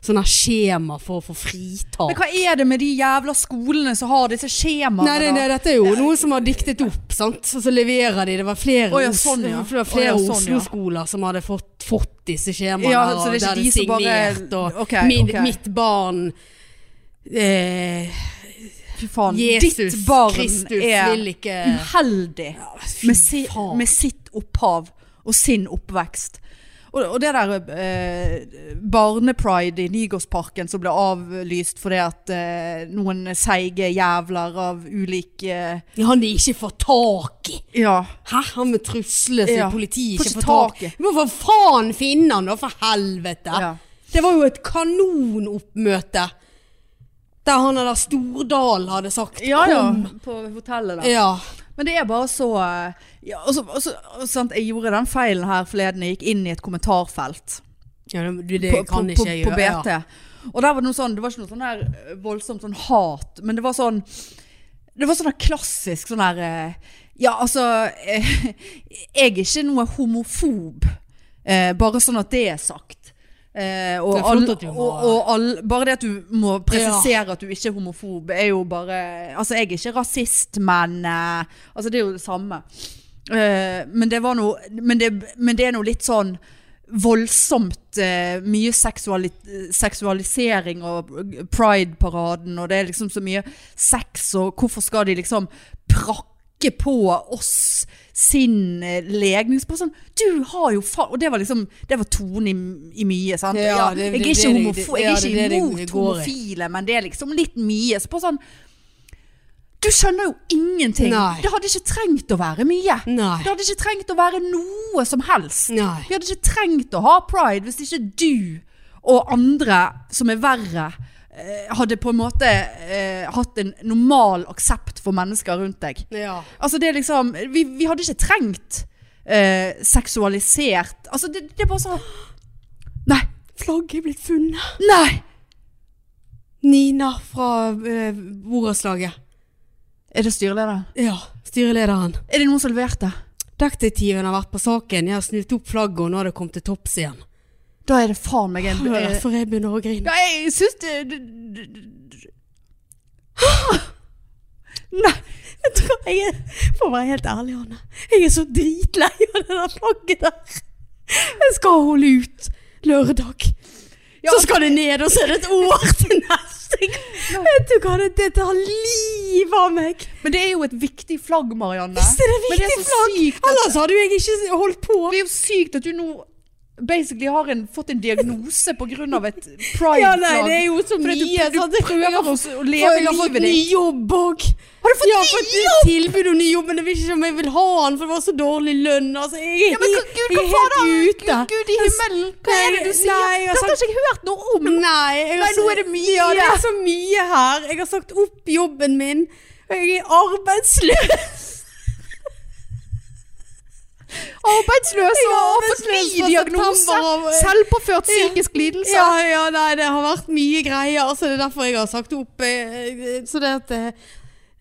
Speaker 1: sånne skjema for å få fritak.
Speaker 2: Men hva er det med de jævla skolene som har disse skjemaene?
Speaker 1: Nei, det,
Speaker 2: da?
Speaker 1: nei, dette er jo noe som har diktet opp, sant? Og så leverer de. Det var flere,
Speaker 2: Å ja,
Speaker 1: Os-
Speaker 2: sånn, ja.
Speaker 1: det var flere
Speaker 2: Å ja, sånn, ja.
Speaker 1: Oslo-skoler som hadde fått, fått disse skjemaene.
Speaker 2: Ja,
Speaker 1: her,
Speaker 2: så det er ikke
Speaker 1: og der
Speaker 2: de som bare-
Speaker 1: signert, og
Speaker 2: Ok,
Speaker 1: min,
Speaker 2: ok.
Speaker 1: mitt barn eh,
Speaker 2: Fy faen.
Speaker 1: Jesus
Speaker 2: Ditt barn
Speaker 1: Kristus
Speaker 2: er
Speaker 1: vil ikke
Speaker 2: uheldig
Speaker 1: fy
Speaker 2: med, si,
Speaker 1: faen.
Speaker 2: med sitt opphav og sin oppvekst. Og, og det der eh, barnepride i Nygårdsparken som ble avlyst fordi at eh, noen seige jævler av ulik eh,
Speaker 1: Han de ikke får tak i!
Speaker 2: Ja.
Speaker 1: Hæ? Han med trusler som
Speaker 2: Ja.
Speaker 1: politiet
Speaker 2: Får
Speaker 1: ikke
Speaker 2: ikke
Speaker 1: får tak
Speaker 2: tak
Speaker 1: i.
Speaker 2: i.
Speaker 1: Men for faen finne han da, for helvete!
Speaker 2: Ja.
Speaker 1: Det var jo et kanonoppmøte! Der han der Stordal hadde sagt
Speaker 2: ja, ja.
Speaker 1: kom!
Speaker 2: På hotellet, da.
Speaker 1: Ja.
Speaker 2: Men det er bare så eh, ja, og så- og så- og sant, Jeg gjorde den feilen her forleden. Jeg gikk inn i et kommentarfelt.
Speaker 1: Ja, det, du, det
Speaker 2: på,
Speaker 1: kan
Speaker 2: på,
Speaker 1: ikke
Speaker 2: på,
Speaker 1: jeg
Speaker 2: på
Speaker 1: gjøre.
Speaker 2: BT. Og der var det noe sånn, det var ikke noe sånn der eh, voldsomt sånn hat, men det var sånn Det var sånn der klassisk sånn der eh, Ja, altså eh, Jeg er ikke noe homofob, eh, bare sånn at det er sagt. Eh, og,
Speaker 1: Det er flott
Speaker 2: all,
Speaker 1: at du må-
Speaker 2: og, og all, bare det at du må presisere at du ikke er homofob, er jo bare Altså, jeg er ikke rasist, men eh, Altså, det er jo det samme. Eh, men, det var noe, men, det, men det er noe litt sånn voldsomt eh, mye seksuali seksualisering og pride-paraden, og det er liksom så mye sex, og hvorfor skal de liksom prakke trykke på oss sin eh, legning. Så bare sånn Du har jo faen Og det var liksom Det var tonen i, i mye, sant?
Speaker 1: Ja,
Speaker 2: Ja,
Speaker 1: det-
Speaker 2: jeg er
Speaker 1: det-
Speaker 2: ikke,
Speaker 1: det- det-
Speaker 2: homofo jeg
Speaker 1: ja,
Speaker 2: er
Speaker 1: det-
Speaker 2: ikke
Speaker 1: det- det-
Speaker 2: imot
Speaker 1: det går i.
Speaker 2: homofile, men det er liksom litt mye. Så bare sånn Du skjønner jo ingenting.
Speaker 1: Nei.
Speaker 2: Det hadde ikke trengt å være mye.
Speaker 1: Nei.
Speaker 2: Det hadde ikke trengt å være noe som helst.
Speaker 1: Nei.
Speaker 2: Vi hadde ikke trengt å ha pride hvis ikke du og andre som er verre, eh, hadde på en måte eh, hatt en normal aksept for mennesker rundt deg.
Speaker 1: Ja.
Speaker 2: Altså det er liksom, vi, vi hadde ikke trengt eh, seksualisert Altså det, det er bare sånn Nei,
Speaker 1: Flagget er blitt funnet.
Speaker 2: nei!
Speaker 1: Nina fra eh, borettslaget.
Speaker 2: Er det styrelederen?
Speaker 1: Ja. Styrelederen.
Speaker 2: Er det noen som leverte?
Speaker 1: Detektiven har vært på saken. Jeg har snudd opp flagget, og nå har det kommet til topps igjen.
Speaker 2: Da er det faen meg en
Speaker 1: Det er
Speaker 2: eh,
Speaker 1: derfor jeg begynner å grine.
Speaker 2: Ja, jeg syns det, det, det, Nei!
Speaker 1: Jeg tror jeg er, for å være helt ærlig, Anne, jeg er så dritlei av det der flagget der. Jeg skal holde ut lørdag.
Speaker 2: Ja,
Speaker 1: så skal det ned, og så er det et år til neste gang. Vet du hva, det, det tar livet av meg.
Speaker 2: Men det er jo et viktig flagg, Marianne.
Speaker 1: Visst er det
Speaker 2: Men det er
Speaker 1: viktig
Speaker 2: så
Speaker 1: flagg.
Speaker 2: sykt at,
Speaker 1: Ellers hadde jo jeg ikke holdt på.
Speaker 2: det er jo sykt at du nå basically har en, fått en diagnose pga. et pride-flagg.
Speaker 1: Ja, nei, det er jo så
Speaker 2: Fordi
Speaker 1: mye.
Speaker 2: du, du,
Speaker 1: sant? Jeg
Speaker 2: prøver
Speaker 1: har
Speaker 2: å,
Speaker 1: fått-
Speaker 2: å leve
Speaker 1: jeg har fått
Speaker 2: livet
Speaker 1: ny
Speaker 2: ditt.
Speaker 1: jobb òg.
Speaker 2: Har du fått
Speaker 1: Jeg har
Speaker 2: ny
Speaker 1: fått ny tilbud om ny jobb, men jeg vet ikke om jeg vil ha den, for det var så dårlig lønn. Altså, jeg, er
Speaker 2: Ja, men
Speaker 1: helt-
Speaker 2: Gud,
Speaker 1: jeg
Speaker 2: hva
Speaker 1: er
Speaker 2: faen da?
Speaker 1: helt ute.
Speaker 2: Gud,
Speaker 1: Altså,
Speaker 2: Gud i himmelen, hva er det du sier?
Speaker 1: Nei, altså- Mm. jeg har
Speaker 2: Dette har ikke jeg hørt noe om.
Speaker 1: Nei, jeg har
Speaker 2: Nei, nå er det mye.
Speaker 1: Ja, det er så mye her. Jeg har sagt opp jobben min. og Jeg er arbeidsløs.
Speaker 2: Arbeidsløs og
Speaker 1: Ja,
Speaker 2: har fått ny
Speaker 1: arbeidsløs fra
Speaker 2: diagnose.
Speaker 1: september av-
Speaker 2: Selvpåført psykisk lidelse.
Speaker 1: Ja, ja, nei, det har vært mye greier. Altså, det er derfor jeg har sagt opp. eh, eh, Så det at eh,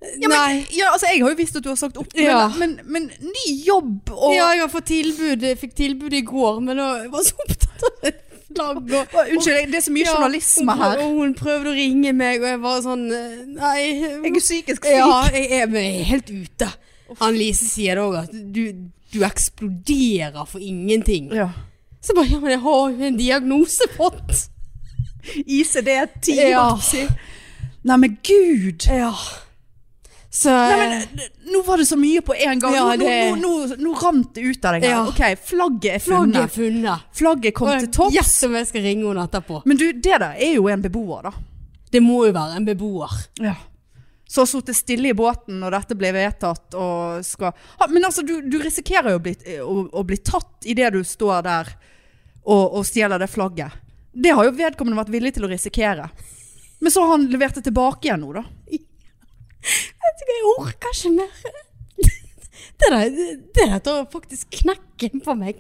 Speaker 2: Ja, men,
Speaker 1: Nei.
Speaker 2: ja, altså, jeg har jo visst at du har sagt opp, men,
Speaker 1: Ja.
Speaker 2: men, men ny jobb og
Speaker 1: Ja, jeg har fått tilbud. Jeg fikk tilbud i går, men da jeg var så opptatt av et flagg og
Speaker 2: Å, Unnskyld, jeg- det er så mye
Speaker 1: Ja,
Speaker 2: journalisme
Speaker 1: hun prøv-
Speaker 2: her.
Speaker 1: Og hun prøvde å ringe meg, og jeg var sånn eh, Nei.
Speaker 2: Jeg er psykisk syk.
Speaker 1: Ja, jeg er, men jeg er helt ute. Annelise sier det òg, at du, du eksploderer for ingenting.
Speaker 2: Ja.
Speaker 1: Så bare Ja, men jeg har jo en diagnosepott.
Speaker 2: ICD-10.
Speaker 1: Ja. Eh.
Speaker 2: Nei, men gud.
Speaker 1: Ja. Så
Speaker 2: Nei,
Speaker 1: eh,
Speaker 2: men, eh, nå var det så mye på en gang.
Speaker 1: Ja,
Speaker 2: nå,
Speaker 1: det-
Speaker 2: nå, nå, nå rant det ut av deg. her.
Speaker 1: Ja.
Speaker 2: Ok, flagget er
Speaker 1: flagget er
Speaker 2: funnet.
Speaker 1: funnet.
Speaker 2: Flagget kom til topp.
Speaker 1: Gjett om jeg skal ringe henne etterpå.
Speaker 2: Men du, det der er jo en beboer, da.
Speaker 1: Det må jo være en beboer.
Speaker 2: Ja. Så sittet stille i båten når dette ble vedtatt og skal ha, Men altså, du, du risikerer jo å bli, å, å bli tatt idet du står der og, og stjeler det flagget. Det har jo vedkommende vært villig til å risikere. Men så har han levert det tilbake igjen nå, da.
Speaker 1: Vet du hva, Jeg orker ikke mer. Det der, det der tar faktisk knekken på meg.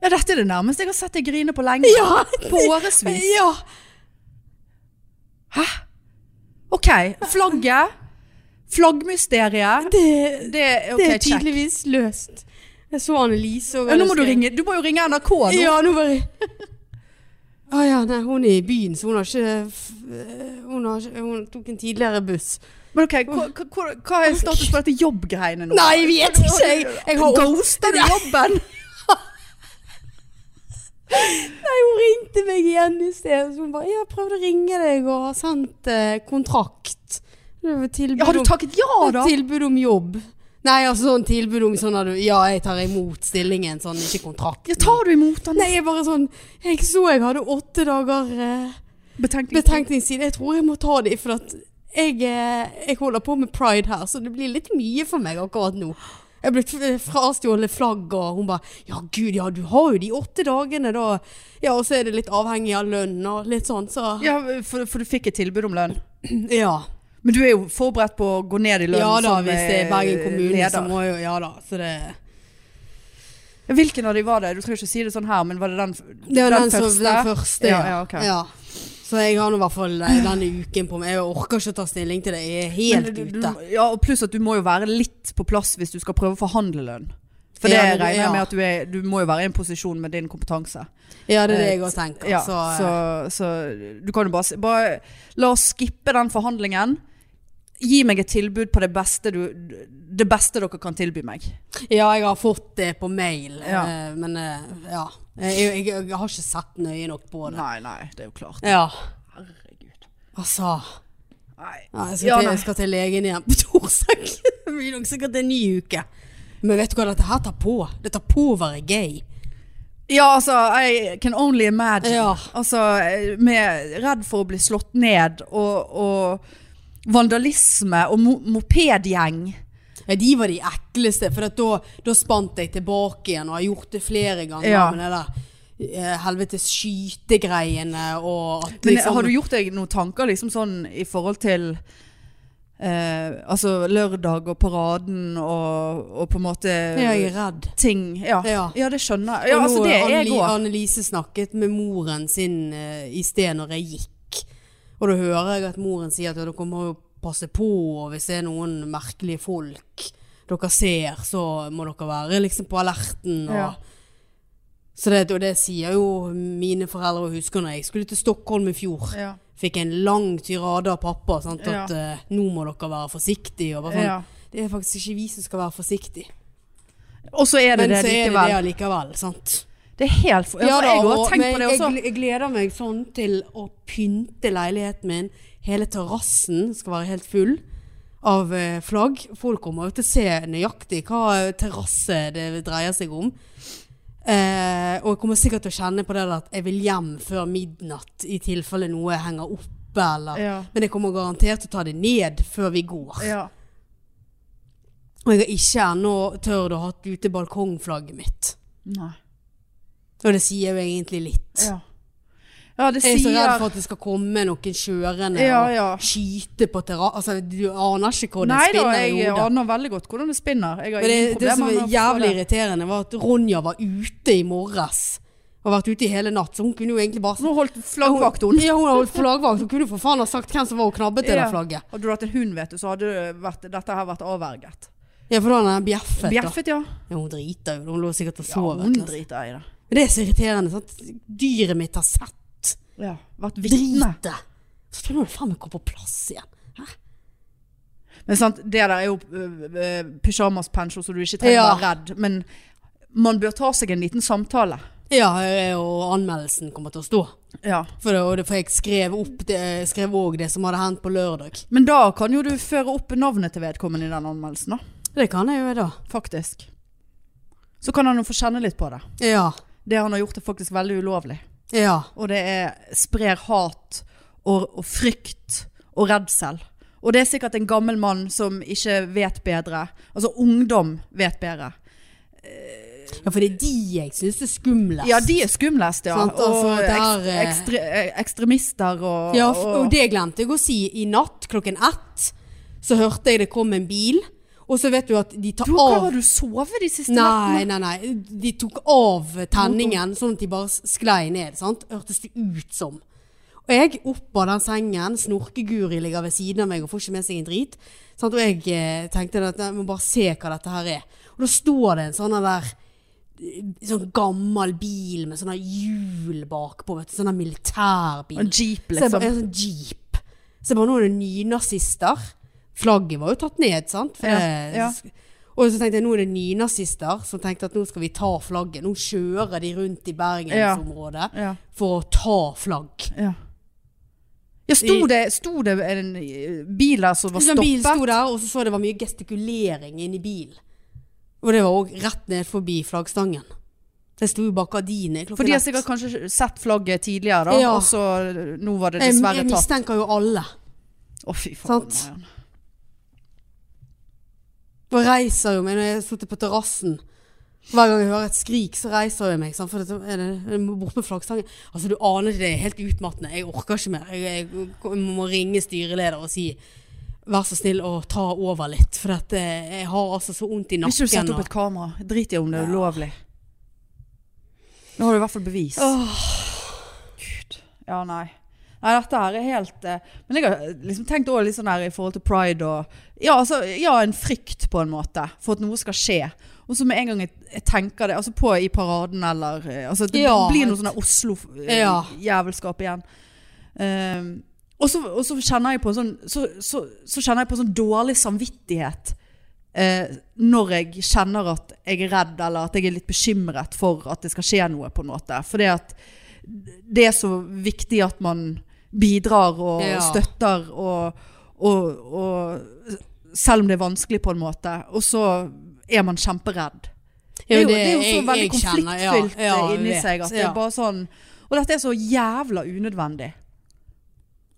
Speaker 2: Ja, dette er det nærmeste jeg har sett deg grine på lenge.
Speaker 1: Ja.
Speaker 2: På årevis.
Speaker 1: Ja.
Speaker 2: Hæ? OK. Flagget. Flaggmysteriet.
Speaker 1: Det,
Speaker 2: Det, ok,
Speaker 1: det er
Speaker 2: check.
Speaker 1: tydeligvis løst. Jeg så Annelise og
Speaker 2: Ja, nå må du ringe. Du må jo ringe NRK nå.
Speaker 1: Ja, nå var jeg Å ja, nei, hun er i byen, så hun har ikke f- Hun, har ikke, hun tok en tidligere buss.
Speaker 2: Men ok, hva, hva, hva er status på dette jobbgreiene nå?
Speaker 1: Nei, jeg vet ikke! Jeg, jeg har
Speaker 2: Ghoster du jobben?
Speaker 1: Nei, hun ringte meg igjen i sted. Så hun bare 'Ja, jeg prøvde å ringe deg og har sendt eh, kontrakt'. Det var tilbud
Speaker 2: Ja, har du
Speaker 1: om-
Speaker 2: takket ja, da?
Speaker 1: Tilbud om jobb. Nei, altså sånn tilbud om sånn at du Ja, jeg tar imot stillingen, sånn, ikke kontrakt.
Speaker 2: Ja, tar du imot den?
Speaker 1: Nei, jeg bare sånn Jeg så jeg hadde åtte dager eh,
Speaker 2: Betenkning.
Speaker 1: betenkningstid. Jeg tror jeg må ta de, for at jeg, eh, jeg holder på med pride her, så det blir litt mye for meg akkurat nå. Jeg er blitt eh, frastjålet flagg, og hun bare Ja, gud, ja, du har jo de åtte dagene, da. Ja, og så er det litt avhengig av lønn og litt sånn, så
Speaker 2: Ja, for, for du fikk et tilbud om lønn.
Speaker 1: Ja.
Speaker 2: Men du er jo forberedt på å gå ned i lønn
Speaker 1: Ja da,
Speaker 2: som,
Speaker 1: hvis det er
Speaker 2: eh,
Speaker 1: Bergen kommune, så
Speaker 2: leder.
Speaker 1: må jo Ja da, så det
Speaker 2: Hvilken av de var det? Du trenger ikke si det sånn her, men var det den,
Speaker 1: Det var den, som den første.
Speaker 2: Ja, ja, ok.
Speaker 1: ja. Så jeg har nå i hvert fall eh, denne uken på meg. Jeg orker ikke å ta stilling til det. Jeg
Speaker 2: Men
Speaker 1: er helt
Speaker 2: du- du-
Speaker 1: ute.
Speaker 2: Ja, og pluss at du må jo være litt på plass hvis du skal prøve å forhandle lønn. For det
Speaker 1: Ja, det-
Speaker 2: regner jeg
Speaker 1: ja.
Speaker 2: med at du er Du må jo være i en posisjon med din kompetanse.
Speaker 1: Ja, det er det jeg òg tenker.
Speaker 2: Ja,
Speaker 1: så, eh,
Speaker 2: så, så du kan jo bare, si- bare La oss skippe den forhandlingen. Gi meg et tilbud på det beste, du, det beste dere kan tilby meg.
Speaker 1: ja, jeg har fått det på mail,
Speaker 2: Ja.
Speaker 1: eh, men eh, ja. Jeg, jeg, jeg har ikke sett nøye nok på det.
Speaker 2: Nei, nei, det er jo klart.
Speaker 1: Ja,
Speaker 2: Herregud.
Speaker 1: altså.
Speaker 2: Nei.
Speaker 1: Ja, jeg, skal
Speaker 2: Ja,
Speaker 1: til,
Speaker 2: nei.
Speaker 1: jeg skal til legen igjen på torsdag. Det blir nok sikkert en ny uke. Men vet du hva, dette her tar på. Det tar på å være gay.
Speaker 2: Ja, altså, I can only imagine.
Speaker 1: Ja.
Speaker 2: Altså, eh, med redd for å bli slått ned, og, og vandalisme og mo mopedgjeng.
Speaker 1: Ja, de var de ekleste, for at da, da spant jeg tilbake igjen og har gjort det flere ganger
Speaker 2: Ja.
Speaker 1: med det der eh, helvetes skytegreiene og at
Speaker 2: Men eh,
Speaker 1: liksom-
Speaker 2: har du gjort deg noen tanker liksom sånn i forhold til eh, altså lørdag og paraden og, og på en måte
Speaker 1: Ja, Jeg er redd.
Speaker 2: ting? Ja. ja.
Speaker 1: Ja.
Speaker 2: det skjønner jeg. Ja,
Speaker 1: Og
Speaker 2: altså
Speaker 1: nå,
Speaker 2: det er jeg
Speaker 1: Anneli-
Speaker 2: òg.
Speaker 1: Annelise snakket med moren sin eh, i sted når jeg gikk. Og da hører jeg at moren sier at ja, dere må jo passe på og hvis det er noen merkelige folk dere ser, så må dere være liksom på alerten. Og,
Speaker 2: Ja.
Speaker 1: så det, og det sier jo mine foreldre og husker når jeg skulle til Stockholm i fjor.
Speaker 2: Ja.
Speaker 1: Fikk en lang tirade av pappa sant,
Speaker 2: Ja.
Speaker 1: at eh, nå må dere være forsiktige. Og bare sånn,
Speaker 2: Ja.
Speaker 1: Det er faktisk ikke vi som skal være forsiktige.
Speaker 2: Og så er det
Speaker 1: Men
Speaker 2: det
Speaker 1: så er det
Speaker 2: likevel.
Speaker 1: det
Speaker 2: Det,
Speaker 1: allikevel. sant?
Speaker 2: er helt for, ja, for Jeg
Speaker 1: og-
Speaker 2: har tenkt
Speaker 1: men
Speaker 2: på det også.
Speaker 1: Jeg, gl- jeg gleder meg sånn til å pynte leiligheten min. Hele terrassen skal være helt full av eh, flagg. Folk kommer jo til å se nøyaktig hva eh, terrasse det dreier seg om. Eh, og jeg kommer sikkert til å kjenne på det at jeg vil hjem før midnatt i tilfelle noe henger oppe eller
Speaker 2: Ja.
Speaker 1: Men jeg kommer garantert til å ta det ned før vi går.
Speaker 2: Ja.
Speaker 1: Og jeg har ikke ennå tørt å ha ute balkongflagget mitt.
Speaker 2: Nei.
Speaker 1: Og det sier jo egentlig litt.
Speaker 2: Ja. ja, det
Speaker 1: Jeg er så
Speaker 2: sier
Speaker 1: redd for at det skal komme noen kjørende
Speaker 2: Ja, ja.
Speaker 1: og skyte på terrassen. Altså, du aner ikke hvor det
Speaker 2: Nei da,
Speaker 1: spinner i
Speaker 2: jeg
Speaker 1: hodet.
Speaker 2: aner veldig godt hvordan det spinner. Jeg har
Speaker 1: Men det,
Speaker 2: ingen
Speaker 1: det som
Speaker 2: problemer med å
Speaker 1: var
Speaker 2: forstå
Speaker 1: jævlig
Speaker 2: det.
Speaker 1: irriterende, var at Ronja var ute i morges. Og vært ute i hele natt, så hun kunne jo egentlig bare
Speaker 2: Nå holdt flaggvakt hun.
Speaker 1: Ja, hun har holdt flaggvakt. Hun kunne for faen ha sagt hvem som var og knabbet til det
Speaker 2: Ja.
Speaker 1: flagget.
Speaker 2: Hadde du hatt en hund, vet du, så hadde det vært, dette her vært avverget.
Speaker 1: Ja, for da hadde han bjeffet. da.
Speaker 2: Bjeffet, ja.
Speaker 1: Ja, hun driter jo. Hun lå sikkert og
Speaker 2: Ja,
Speaker 1: sov.
Speaker 2: hun
Speaker 1: vet du.
Speaker 2: driter i det.
Speaker 1: Men det er så irriterende. sant? Dyret mitt har sett.
Speaker 2: Ja, vært vitne.
Speaker 1: Dritet. Så tror jeg det faen meg kommer på plass igjen. Hæ?
Speaker 2: Men sant, det der er jo eh, pysjamaspensjon, så du ikke trenger
Speaker 1: Ja.
Speaker 2: å være redd. Men man bør ta seg en liten samtale.
Speaker 1: Ja, og anmeldelsen kommer til å stå.
Speaker 2: Ja.
Speaker 1: For, det, og det, for jeg skrev opp det, jeg skrev også det som hadde hendt på lørdag.
Speaker 2: Men da kan jo du føre opp navnet til vedkommende i den anmeldelsen, da.
Speaker 1: Det kan jeg jo da.
Speaker 2: Faktisk. Så kan han jo få kjenne litt på det.
Speaker 1: Ja.
Speaker 2: Det han har gjort er faktisk veldig ulovlig.
Speaker 1: Ja.
Speaker 2: Og det er, sprer hat og, og frykt og redsel. Og det er sikkert en gammel mann som ikke vet bedre. Altså ungdom vet bedre.
Speaker 1: ja, for det er de jeg synes er skumlest.
Speaker 2: Ja, de er skumlest, ja.
Speaker 1: Sant, altså,
Speaker 2: og
Speaker 1: det
Speaker 2: ekst-
Speaker 1: er, eh,
Speaker 2: ekstre, eh, ekstremister og,
Speaker 1: Ja, f-
Speaker 2: og,
Speaker 1: og det glemte jeg å si. I natt klokken ett så hørte jeg det kom en bil, og så vet du at de tar
Speaker 2: du, Hva
Speaker 1: av
Speaker 2: har du sovet de siste
Speaker 1: Nei,
Speaker 2: nattene? Mm.
Speaker 1: nei, nei. De tok av tenningen, sånn at de bare sklei ned. Sant? Hørtes det ut som. Og jeg opp av den sengen, Snorke-Guri ligger ved siden av meg og får ikke med seg en drit. Sant? Og jeg eh, tenkte at jeg må bare se hva dette her er. Og da står det en sånn der eh, Sånn gammel bil med sånne hjul bakpå, vet du. Sånn der militærbil.
Speaker 2: En jeep,
Speaker 1: Så jeg
Speaker 2: liksom.
Speaker 1: bare, en sånn jeep. Så jeg bare, nå er det nynazister. Flagget var jo tatt ned, sant? For
Speaker 2: Ja,
Speaker 1: det-
Speaker 2: ja.
Speaker 1: Og så tenkte jeg, nå er det nynazister som tenkte at nå skal vi ta flagget. Nå kjører de rundt i Bergensområdet
Speaker 2: Ja,
Speaker 1: for å ta flagg.
Speaker 2: ja. ja sto, det, sto det en eh, bil der som var
Speaker 1: Så en bil
Speaker 2: stoppet?
Speaker 1: sto der, og så så jeg det var mye gestikulering inni bilen. Og det var også rett ned forbi flaggstangen. Så jeg sto jo bak gardinene klokken
Speaker 2: For de har
Speaker 1: ett.
Speaker 2: sikkert kanskje sett flagget tidligere, da.
Speaker 1: Ja.
Speaker 2: Og så eh, nå var det
Speaker 1: Jeg,
Speaker 2: dessverre
Speaker 1: jeg
Speaker 2: tatt.
Speaker 1: mistenker jo alle.
Speaker 2: Å, fy faen.
Speaker 1: Sant.
Speaker 2: Marianne.
Speaker 1: Og reiser jo meg når jeg har sittet på terrassen. Hver gang jeg hører et skrik, så reiser jeg meg. sant? For det er det er bort med flaggstangen. Altså, du aner ikke, det er helt utmattende. Jeg orker ikke mer. Jeg, jeg, jeg må ringe styreleder og si vær så snill å ta over litt. For at, eh, jeg har altså så vondt i
Speaker 2: Vil ikke du sette
Speaker 1: nakken.
Speaker 2: opp
Speaker 1: Og,
Speaker 2: et kamera? Drit i om det er ulovlig. Nå har du i hvert fall bevis. Gud. Ja, nei. Nei, dette her er helt eh, Men jeg har liksom tenkt også litt sånn her i forhold til pride og ja, altså, ja, en frykt på en måte for at noe skal skje. Og så med en gang jeg, jeg tenker det altså på i paraden eller eh, altså, Det
Speaker 1: Ja,
Speaker 2: blir
Speaker 1: helt.
Speaker 2: noe sånn
Speaker 1: Ja.
Speaker 2: Oslo-jævelskap igjen. Ehm, og, så, og så kjenner jeg på en sånn Så, så, så kjenner jeg på en sånn dårlig samvittighet eh, når jeg kjenner at jeg er redd, eller at jeg er litt bekymret for at det skal skje noe, på en måte. Fordi at det er så viktig at man bidrar og
Speaker 1: Ja.
Speaker 2: støtter og, Og, og selv om det er vanskelig på en måte. Og så er man kjemperedd. Det er jo, det er jo så veldig konfliktfylt eh, inni seg at det er bare sånn Og dette er så jævla unødvendig.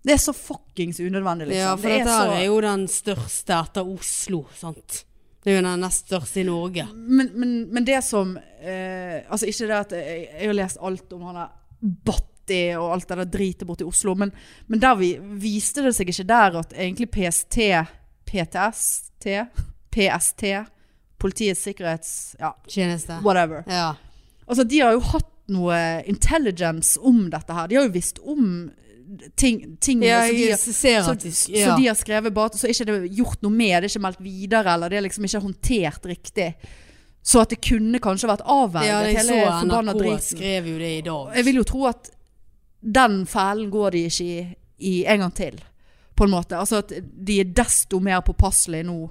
Speaker 2: Det er så fuckings unødvendig, liksom.
Speaker 1: Ja, for
Speaker 2: det
Speaker 1: dette her er jo den største etter Oslo, sant. Det er jo den nest største i Norge.
Speaker 2: men, men, men det som eh, Altså, ikke det at jeg, jeg har lest alt om han der Batti og alt det der dritet borti Oslo, men, men der vi, viste det seg ikke der at egentlig PST PTST PST Politiets sikkerhets... Ja,
Speaker 1: Tjeneste.
Speaker 2: whatever.
Speaker 1: Ja.
Speaker 2: Altså, de har jo hatt noe intelligence om dette her. De har jo visst om ting, ting
Speaker 1: ja,
Speaker 2: som, de,
Speaker 1: jeg
Speaker 2: har-
Speaker 1: ser
Speaker 2: så,
Speaker 1: at de
Speaker 2: så
Speaker 1: ja.
Speaker 2: de har skrevet bare, så er ikke det gjort noe med, det er ikke meldt videre, eller det er liksom ikke håndtert riktig. Så at det kunne kanskje vært avvendet
Speaker 1: Ja, jeg så
Speaker 2: hele forbanna
Speaker 1: NRK
Speaker 2: driten.
Speaker 1: skrev jo det i dag.
Speaker 2: Jeg vil jo tro at den fælen går de ikke i, i en gang til, på en måte. Altså at de er desto mer påpasselige nå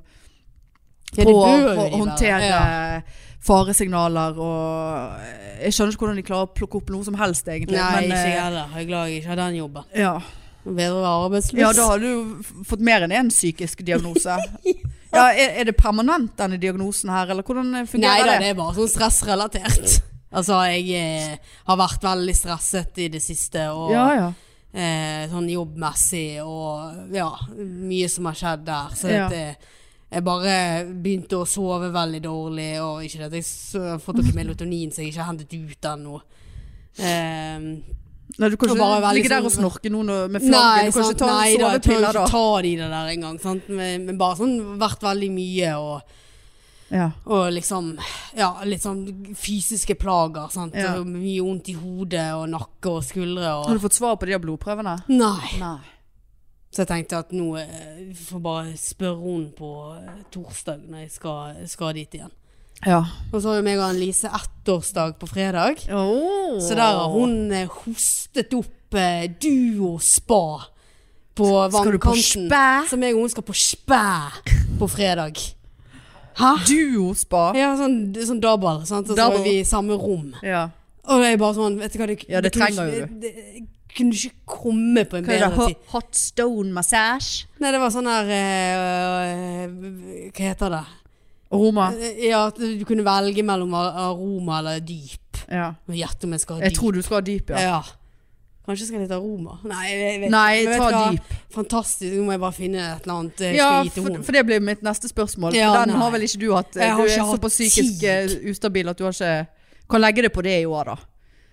Speaker 1: Ja, det
Speaker 2: på
Speaker 1: bør jo
Speaker 2: å
Speaker 1: de være.
Speaker 2: håndtere
Speaker 1: Ja.
Speaker 2: faresignaler og eh, Jeg skjønner ikke hvordan de klarer å plukke opp noe som helst, egentlig.
Speaker 1: Nei,
Speaker 2: men,
Speaker 1: ikke
Speaker 2: eh,
Speaker 1: jeg heller. Jeg er glad jeg ikke har den jobben.
Speaker 2: ja.
Speaker 1: Bedre å være arbeidsløs.
Speaker 2: ja, da har du jo f- fått mer enn én psykisk diagnose. ja, er, er det permanent, denne diagnosen her, eller hvordan eh,
Speaker 1: Nei
Speaker 2: fungerer
Speaker 1: da,
Speaker 2: det?
Speaker 1: det er bare sånn stressrelatert. Altså, jeg eh, har vært veldig stresset i det siste, og
Speaker 2: Ja, ja.
Speaker 1: eh, sånn jobbmessig, og ja, mye som har skjedd der. Så
Speaker 2: Ja.
Speaker 1: det, jeg bare begynte å sove veldig dårlig, og ikke det at jeg s- har fått noe melatonin som jeg ikke har hentet ut ennå. Eh,
Speaker 2: Nei, du kan
Speaker 1: Og bare
Speaker 2: ikke
Speaker 1: veldig
Speaker 2: ligge der
Speaker 1: sånn-
Speaker 2: og snorke noen og- med
Speaker 1: Nei,
Speaker 2: flagget. Du kan
Speaker 1: sant,
Speaker 2: ikke ta
Speaker 1: nei, da, jeg tør
Speaker 2: sovepiller da.
Speaker 1: ikke ta de det der engang. sant? Men, men bare sånn vært veldig mye og,
Speaker 2: Ja.
Speaker 1: og liksom Ja, litt sånn fysiske plager. sant?
Speaker 2: Ja. Mm.
Speaker 1: Og mye vondt i hodet og nakke og skuldre
Speaker 2: Har
Speaker 1: og
Speaker 2: du fått svar på de her blodprøvene?
Speaker 1: Nei.
Speaker 2: Nei.
Speaker 1: Så jeg tenkte at nå eh, får bare spørre hun på eh, torsdag når jeg skal, skal dit igjen.
Speaker 2: Ja.
Speaker 1: Og så har jo meg og Lise ettårsdag på fredag. Så der har hun eh, hostet opp eh, Duo Spa på
Speaker 2: Skal du på
Speaker 1: vannkanten.
Speaker 2: spæ?
Speaker 1: Så meg og hun skal på spæ på fredag. Hæ?
Speaker 2: Duospa.
Speaker 1: Ja, sånn, sånn double, sant? Og så
Speaker 2: Double.
Speaker 1: var vi i samme rom.
Speaker 2: Ja.
Speaker 1: Og det er bare sånn, vet du hva det,
Speaker 2: Ja, det
Speaker 1: kunne
Speaker 2: trenger
Speaker 1: ikke-
Speaker 2: jo
Speaker 1: Det, kunne ikke komme på en
Speaker 2: Hva er det?
Speaker 1: bedre
Speaker 2: Hot,
Speaker 1: tid.
Speaker 2: hot stone massage?
Speaker 1: Nei, det var sånn her eh, Hva heter det? Eh,
Speaker 2: Roma.
Speaker 1: Ja, at du kunne velge mellom ar- aroma eller dyp.
Speaker 2: Ja.
Speaker 1: Og Gjett om jeg skal ha dyp.
Speaker 2: Jeg tror du skal ha dyp, ja.
Speaker 1: Ja. Kanskje skal jeg ta Roma? Nei, jeg vet,
Speaker 2: Nei,
Speaker 1: men vet
Speaker 2: ta
Speaker 1: du hva?
Speaker 2: dyp.
Speaker 1: Fantastisk, nå må jeg bare finne et eller annet jeg
Speaker 2: Ja,
Speaker 1: skal gi til
Speaker 2: for,
Speaker 1: henne.
Speaker 2: for det blir mitt neste spørsmål.
Speaker 1: Ja,
Speaker 2: Den
Speaker 1: nei.
Speaker 2: har vel ikke du hatt.
Speaker 1: Jeg har
Speaker 2: du er
Speaker 1: ikke hatt
Speaker 2: såpass psykisk
Speaker 1: tid.
Speaker 2: eh, ustabil at du har ikke Kan legge det på det i år, da.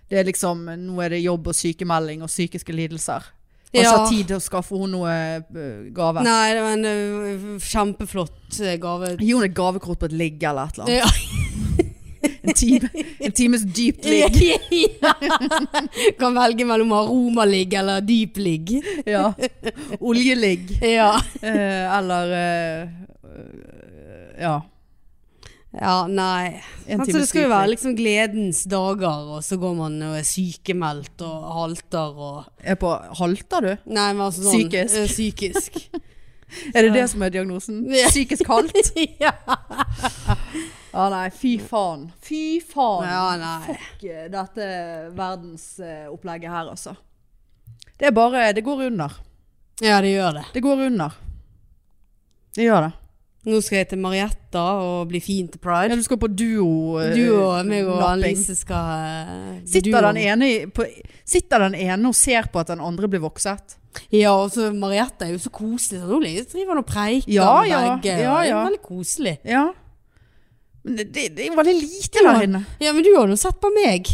Speaker 2: Det er liksom Nå er det jobb og sykemelding og psykiske lidelser. Har ikke
Speaker 1: Ja.
Speaker 2: hatt tid til å skaffe henne noe eh, gave.
Speaker 1: Nei, det var en ø, kjempeflott ø, gave.
Speaker 2: Gi henne et gavekort på et ligg eller et eller annet.
Speaker 1: Ja.
Speaker 2: En, time, en times dypt ligg.
Speaker 1: kan velge mellom aromaligg eller dypligg.
Speaker 2: Ja. Oljeligg.
Speaker 1: Ja.
Speaker 2: Eh, eller eh, eh, Ja.
Speaker 1: ja, nei.
Speaker 2: En
Speaker 1: altså, det skal jo
Speaker 2: dypt
Speaker 1: være
Speaker 2: ligg.
Speaker 1: liksom gledens dager, og så går man og er sykemeldt og halter og
Speaker 2: Er på halter, du?
Speaker 1: Nei, men altså sånn eh,
Speaker 2: Psykisk.
Speaker 1: ø, Psykisk.
Speaker 2: Er det det som er diagnosen?
Speaker 1: Ja.
Speaker 2: Psykisk halt?
Speaker 1: ja.
Speaker 2: Ja, nei, fy faen. Fy faen.
Speaker 1: ja, nei.
Speaker 2: Fuck dette verdensopplegget her, altså. Det er bare Det går under.
Speaker 1: Ja, det gjør det.
Speaker 2: Det går under. Det gjør det.
Speaker 1: Nå skal jeg til Marietta og bli fin til
Speaker 2: Ja,
Speaker 1: pride.
Speaker 2: du skal på duo eh,
Speaker 1: Du og meg og
Speaker 2: napping.
Speaker 1: Annelise skal eh,
Speaker 2: Sitter
Speaker 1: duo.
Speaker 2: den, ene, i- på, sitter den ene og ser på at den andre blir vokset?
Speaker 1: Ja, og så Marietta er jo så koselig. Sånn, hun driver hun og preiker
Speaker 2: Ja,
Speaker 1: med
Speaker 2: ja,
Speaker 1: begge.
Speaker 2: ja,
Speaker 1: og Det
Speaker 2: ja.
Speaker 1: er veldig koselig.
Speaker 2: Ja. Men det, det, det er veldig lite der inne.
Speaker 1: Ja, men du har jo sett på meg.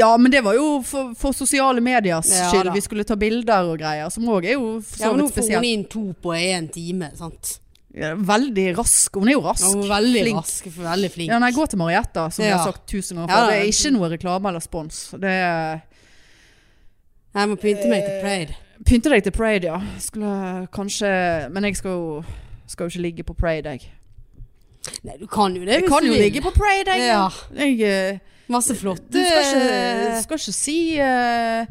Speaker 2: Ja, men det var jo for, for sosiale mediers
Speaker 1: Ja,
Speaker 2: skyld.
Speaker 1: da.
Speaker 2: Vi skulle ta bilder og greier, som òg er jo for så
Speaker 1: Ja, men Nå
Speaker 2: vidt
Speaker 1: får hun
Speaker 2: spesielt.
Speaker 1: inn to på én time. sant?
Speaker 2: Ja, Veldig rask. Hun er jo rask.
Speaker 1: Ja, hun er veldig
Speaker 2: Flink.
Speaker 1: rask. for Veldig flink.
Speaker 2: Ja, nei, gå til Marietta, som jeg
Speaker 1: Ja.
Speaker 2: har sagt tusen ganger
Speaker 1: Ja,
Speaker 2: før. Det
Speaker 1: ja.
Speaker 2: er ikke noe reklame eller spons. Det er
Speaker 1: Jeg må pynte meg til Pride.
Speaker 2: Pynte deg til Parade, ja. Skulle kanskje Men jeg skal jo skal jo ikke ligge på Parade, jeg.
Speaker 1: Nei, du kan jo det.
Speaker 2: Jeg
Speaker 1: hvis
Speaker 2: kan
Speaker 1: du
Speaker 2: jo
Speaker 1: vil.
Speaker 2: ligge på Parade, jeg.
Speaker 1: Ja.
Speaker 2: Jeg, eh,
Speaker 1: Masse flotte
Speaker 2: Du skal ikke, skal ikke si eh,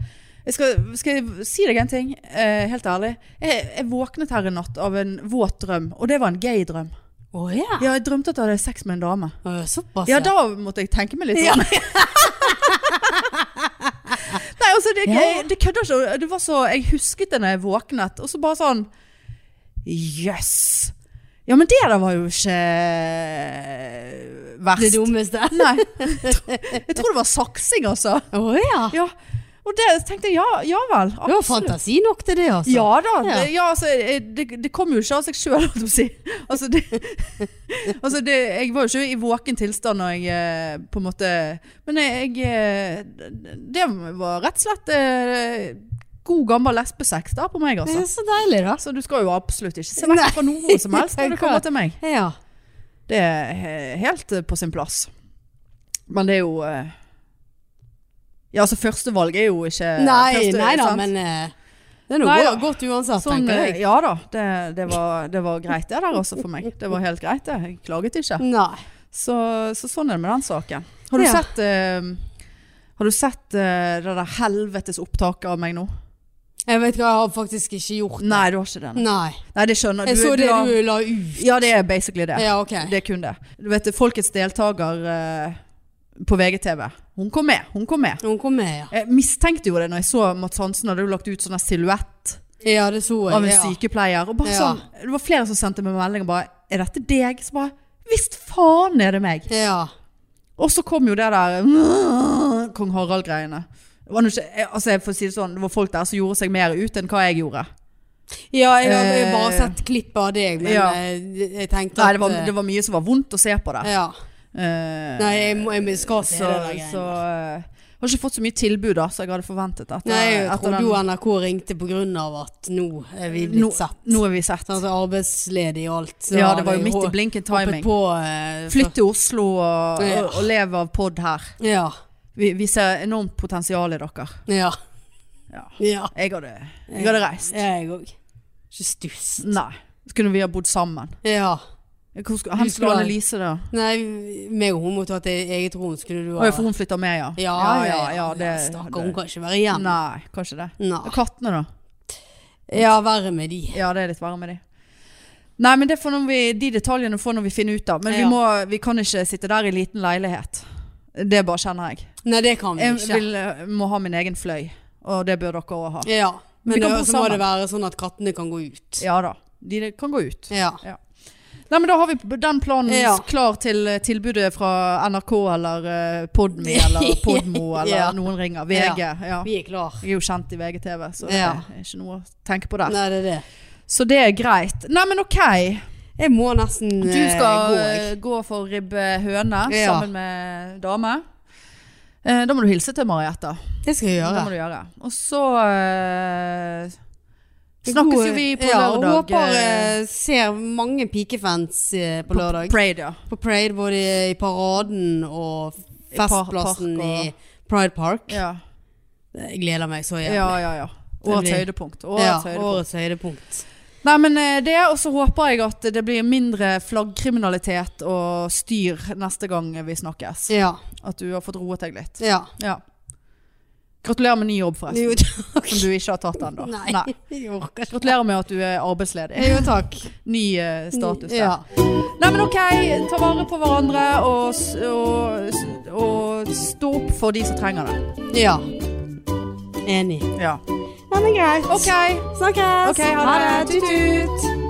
Speaker 2: jeg skal, skal jeg si deg en ting, eh, helt ærlig. Jeg, jeg våknet her i natt av en våt drøm, og det var en gay drøm.
Speaker 1: Å ja.
Speaker 2: Ja, jeg drømte at jeg hadde sex med en dame.
Speaker 1: Å, Såpass,
Speaker 2: Ja, da måtte jeg tenke meg litt om. Nei, altså, det,
Speaker 1: Ja.
Speaker 2: det kødder ikke. Det var så, jeg husket det når jeg våknet, og så bare sånn Jøss! Yes. Ja, men det da var jo ikke eh, verst.
Speaker 1: Det dummeste.
Speaker 2: Nei. Jeg tror det var saksing, altså.
Speaker 1: Å ja.
Speaker 2: Ja. Og det tenkte jeg, ja, ja vel.
Speaker 1: Du har
Speaker 2: absolutt.
Speaker 1: fantasi nok til det, altså.
Speaker 2: Ja da.
Speaker 1: Ja.
Speaker 2: Det, ja, altså, jeg- det, det kom jo ikke av seg sjøl, holdt jeg på å si. Altså, det, altså det, jeg var jo ikke i våken tilstand når jeg eh, på en måte Men jeg, jeg eh, Det var rett og slett eh, god gammel lesbesex da på meg,
Speaker 1: Det
Speaker 2: altså.
Speaker 1: er så deilig, da.
Speaker 2: Så du skal jo absolutt ikke se vekk fra noe som helst når det kommer til meg.
Speaker 1: Ja.
Speaker 2: Det er he- helt eh, på sin plass. Men det er jo eh, Ja, altså førstevalg er jo ikke
Speaker 1: Nei,
Speaker 2: første,
Speaker 1: nei da,
Speaker 2: sant?
Speaker 1: men eh, det er noe
Speaker 2: Nei
Speaker 1: go-
Speaker 2: da.
Speaker 1: godt uansett,
Speaker 2: Sånn,
Speaker 1: tenker
Speaker 2: eh,
Speaker 1: jeg.
Speaker 2: ja da, det, det, var, det var greit det der også for meg. Det var helt greit det. Jeg klaget ikke.
Speaker 1: Nei.
Speaker 2: Så, så sånn er det med den saken. Har du
Speaker 1: Ja.
Speaker 2: sett, eh, har du sett eh, det der helvetes opptaket av meg nå?
Speaker 1: Jeg vet hva, jeg har faktisk ikke gjort det.
Speaker 2: Nei, du har ikke det. nei.
Speaker 1: Nei.
Speaker 2: Nei, det skjønner
Speaker 1: Jeg så
Speaker 2: du
Speaker 1: det
Speaker 2: har-
Speaker 1: du la ut.
Speaker 2: Ja, det er basically det.
Speaker 1: Ja, ok.
Speaker 2: Det er kun det. Du vet, Folkets deltaker eh, på VGTV. Hun kom med, hun kom med.
Speaker 1: Hun kom med, ja.
Speaker 2: Jeg mistenkte jo det når jeg så Mats Hansen hadde jo lagt ut sånn der silhuett
Speaker 1: Ja, det så jeg.
Speaker 2: av en
Speaker 1: ja.
Speaker 2: sykepleier. Og bare
Speaker 1: Ja.
Speaker 2: sånn, det var flere som sendte meg meldinger bare Er dette deg? Så bare Visst faen er det meg!
Speaker 1: Ja.
Speaker 2: Og så kom jo det der Kong Harald-greiene. Det var nå ikke, jeg- altså jeg får si Det sånn, det var folk der som gjorde seg mer ut enn hva jeg gjorde.
Speaker 1: ja, jeg har jeg har bare
Speaker 2: Eh,
Speaker 1: sett klipp av deg, men
Speaker 2: ja.
Speaker 1: eh, jeg tenkte
Speaker 2: Nei,
Speaker 1: at
Speaker 2: det var,
Speaker 1: eh,
Speaker 2: det var mye som var vondt å se på der.
Speaker 1: Ja.
Speaker 2: Eh,
Speaker 1: Nei, jeg, må, jeg skal se
Speaker 2: så,
Speaker 1: det der
Speaker 2: så eh,
Speaker 1: greiene.
Speaker 2: jeg har ikke fått så mye tilbud da, som jeg hadde forventet. Etter,
Speaker 1: Nei, jeg
Speaker 2: etter
Speaker 1: trodde jo NRK ringte på grunn av at nå er vi blitt
Speaker 2: nå,
Speaker 1: sett.
Speaker 2: nå er vi sett.
Speaker 1: Sånn, altså, arbeidsledig og alt. så
Speaker 2: ja,
Speaker 1: hadde
Speaker 2: det var
Speaker 1: jeg
Speaker 2: jo midt
Speaker 1: hå-
Speaker 2: i blinken
Speaker 1: hoppet
Speaker 2: timing.
Speaker 1: På, eh,
Speaker 2: Flytt til Oslo og,
Speaker 1: Ja.
Speaker 2: og, og lev av pod her.
Speaker 1: for- Ja.
Speaker 2: Vi, vi ser enormt potensial i dere.
Speaker 1: Ja.
Speaker 2: Ja.
Speaker 1: ja.
Speaker 2: Jeg hadde, jeg hadde reist.
Speaker 1: Jeg òg. Ikke stuss.
Speaker 2: Nei. Så kunne vi ha bodd sammen.
Speaker 1: Ja.
Speaker 2: Hvor skulle,
Speaker 1: Du
Speaker 2: hen
Speaker 1: skulle
Speaker 2: skulle
Speaker 1: ha-
Speaker 2: Annelise da?
Speaker 1: Nei, meg og hun måtte hatt e- eget rom, skulle du
Speaker 2: Å ja, for hun flytter med, ja.
Speaker 1: Ja, ja, ja.
Speaker 2: det,
Speaker 1: Stakkar, hun kan ikke være igjen.
Speaker 2: Nei, kanskje det.
Speaker 1: Nei.
Speaker 2: Og kattene, da?
Speaker 1: Ja, verre med de.
Speaker 2: Ja, det er litt verre med de. Nei, men det får når vi, de detaljene får når vi finner ut av. Men vi,
Speaker 1: Ja.
Speaker 2: må, vi kan ikke sitte der i liten leilighet. Det bare kjenner jeg.
Speaker 1: Nei, det kan vi
Speaker 2: Jeg
Speaker 1: ikke.
Speaker 2: vil, eh, må ha min egen fløy, og det bør dere òg ha.
Speaker 1: Ja.
Speaker 2: Vi
Speaker 1: Men
Speaker 2: kan
Speaker 1: det-
Speaker 2: bo
Speaker 1: så må
Speaker 2: sammen.
Speaker 1: det være sånn at kattene kan gå ut.
Speaker 2: Ja da. De kan gå ut.
Speaker 1: Ja.
Speaker 2: Nei, men da har vi den planen
Speaker 1: Ja.
Speaker 2: klar til eh, tilbudet fra NRK eller eh, Podme eller Podmo eller
Speaker 1: Ja.
Speaker 2: noen ringer. VG. Ja.
Speaker 1: Vi er klar.
Speaker 2: Jeg er jo kjent i VGTV, så
Speaker 1: Ja.
Speaker 2: det er ikke noe å tenke på der.
Speaker 1: Nei, det er det.
Speaker 2: Så det er greit. Nei, men ok.
Speaker 1: Jeg må nesten
Speaker 2: Du
Speaker 1: eh,
Speaker 2: skal
Speaker 1: gå,
Speaker 2: eh,
Speaker 1: jeg.
Speaker 2: gå for ribbehøne
Speaker 1: Ja.
Speaker 2: sammen med dame. Eh, Da må du hilse til Marietta.
Speaker 1: eh, Det skal jeg
Speaker 2: Det
Speaker 1: gjøre.
Speaker 2: må du gjøre. Og så eh, snakkes
Speaker 1: God-
Speaker 2: jo vi på
Speaker 1: ja,
Speaker 2: lørdag.
Speaker 1: Og håper
Speaker 2: eh,
Speaker 1: eh, ser mange pikefans eh, på lørdag.
Speaker 2: På Parade, ja.
Speaker 1: På Parade, både i Paraden og
Speaker 2: I par- park
Speaker 1: Festplassen
Speaker 2: og-
Speaker 1: i Pride Park.
Speaker 2: ja.
Speaker 1: Jeg gleder meg så jævlig.
Speaker 2: Ja, ja, ja. Årets
Speaker 1: blir-
Speaker 2: høydepunkt. Årets
Speaker 1: Ja,
Speaker 2: høydepunkt.
Speaker 1: årets høydepunkt.
Speaker 2: Nei, men eh, det, og så håper jeg at det blir mindre flaggkriminalitet og styr neste gang vi snakkes.
Speaker 1: Ja.
Speaker 2: At du har fått roet deg litt.
Speaker 1: ja.
Speaker 2: Ja. Gratulerer med ny jobb, forresten.
Speaker 1: Jo, takk.
Speaker 2: Som du ikke har tatt ennå.
Speaker 1: Nei, jeg orker ikke.
Speaker 2: Gratulerer med at du er arbeidsledig.
Speaker 1: Jo, takk.
Speaker 2: Ny eh, status der.
Speaker 1: Ja.
Speaker 2: Nei, men ok, ta vare på hverandre og, s- og, s- og stå opp for de som trenger det.
Speaker 1: ja. Enig.
Speaker 2: Ja.
Speaker 1: Ja, men greit.
Speaker 2: Ok,
Speaker 1: Snakkes.
Speaker 2: ok, ha det. Tut-tut.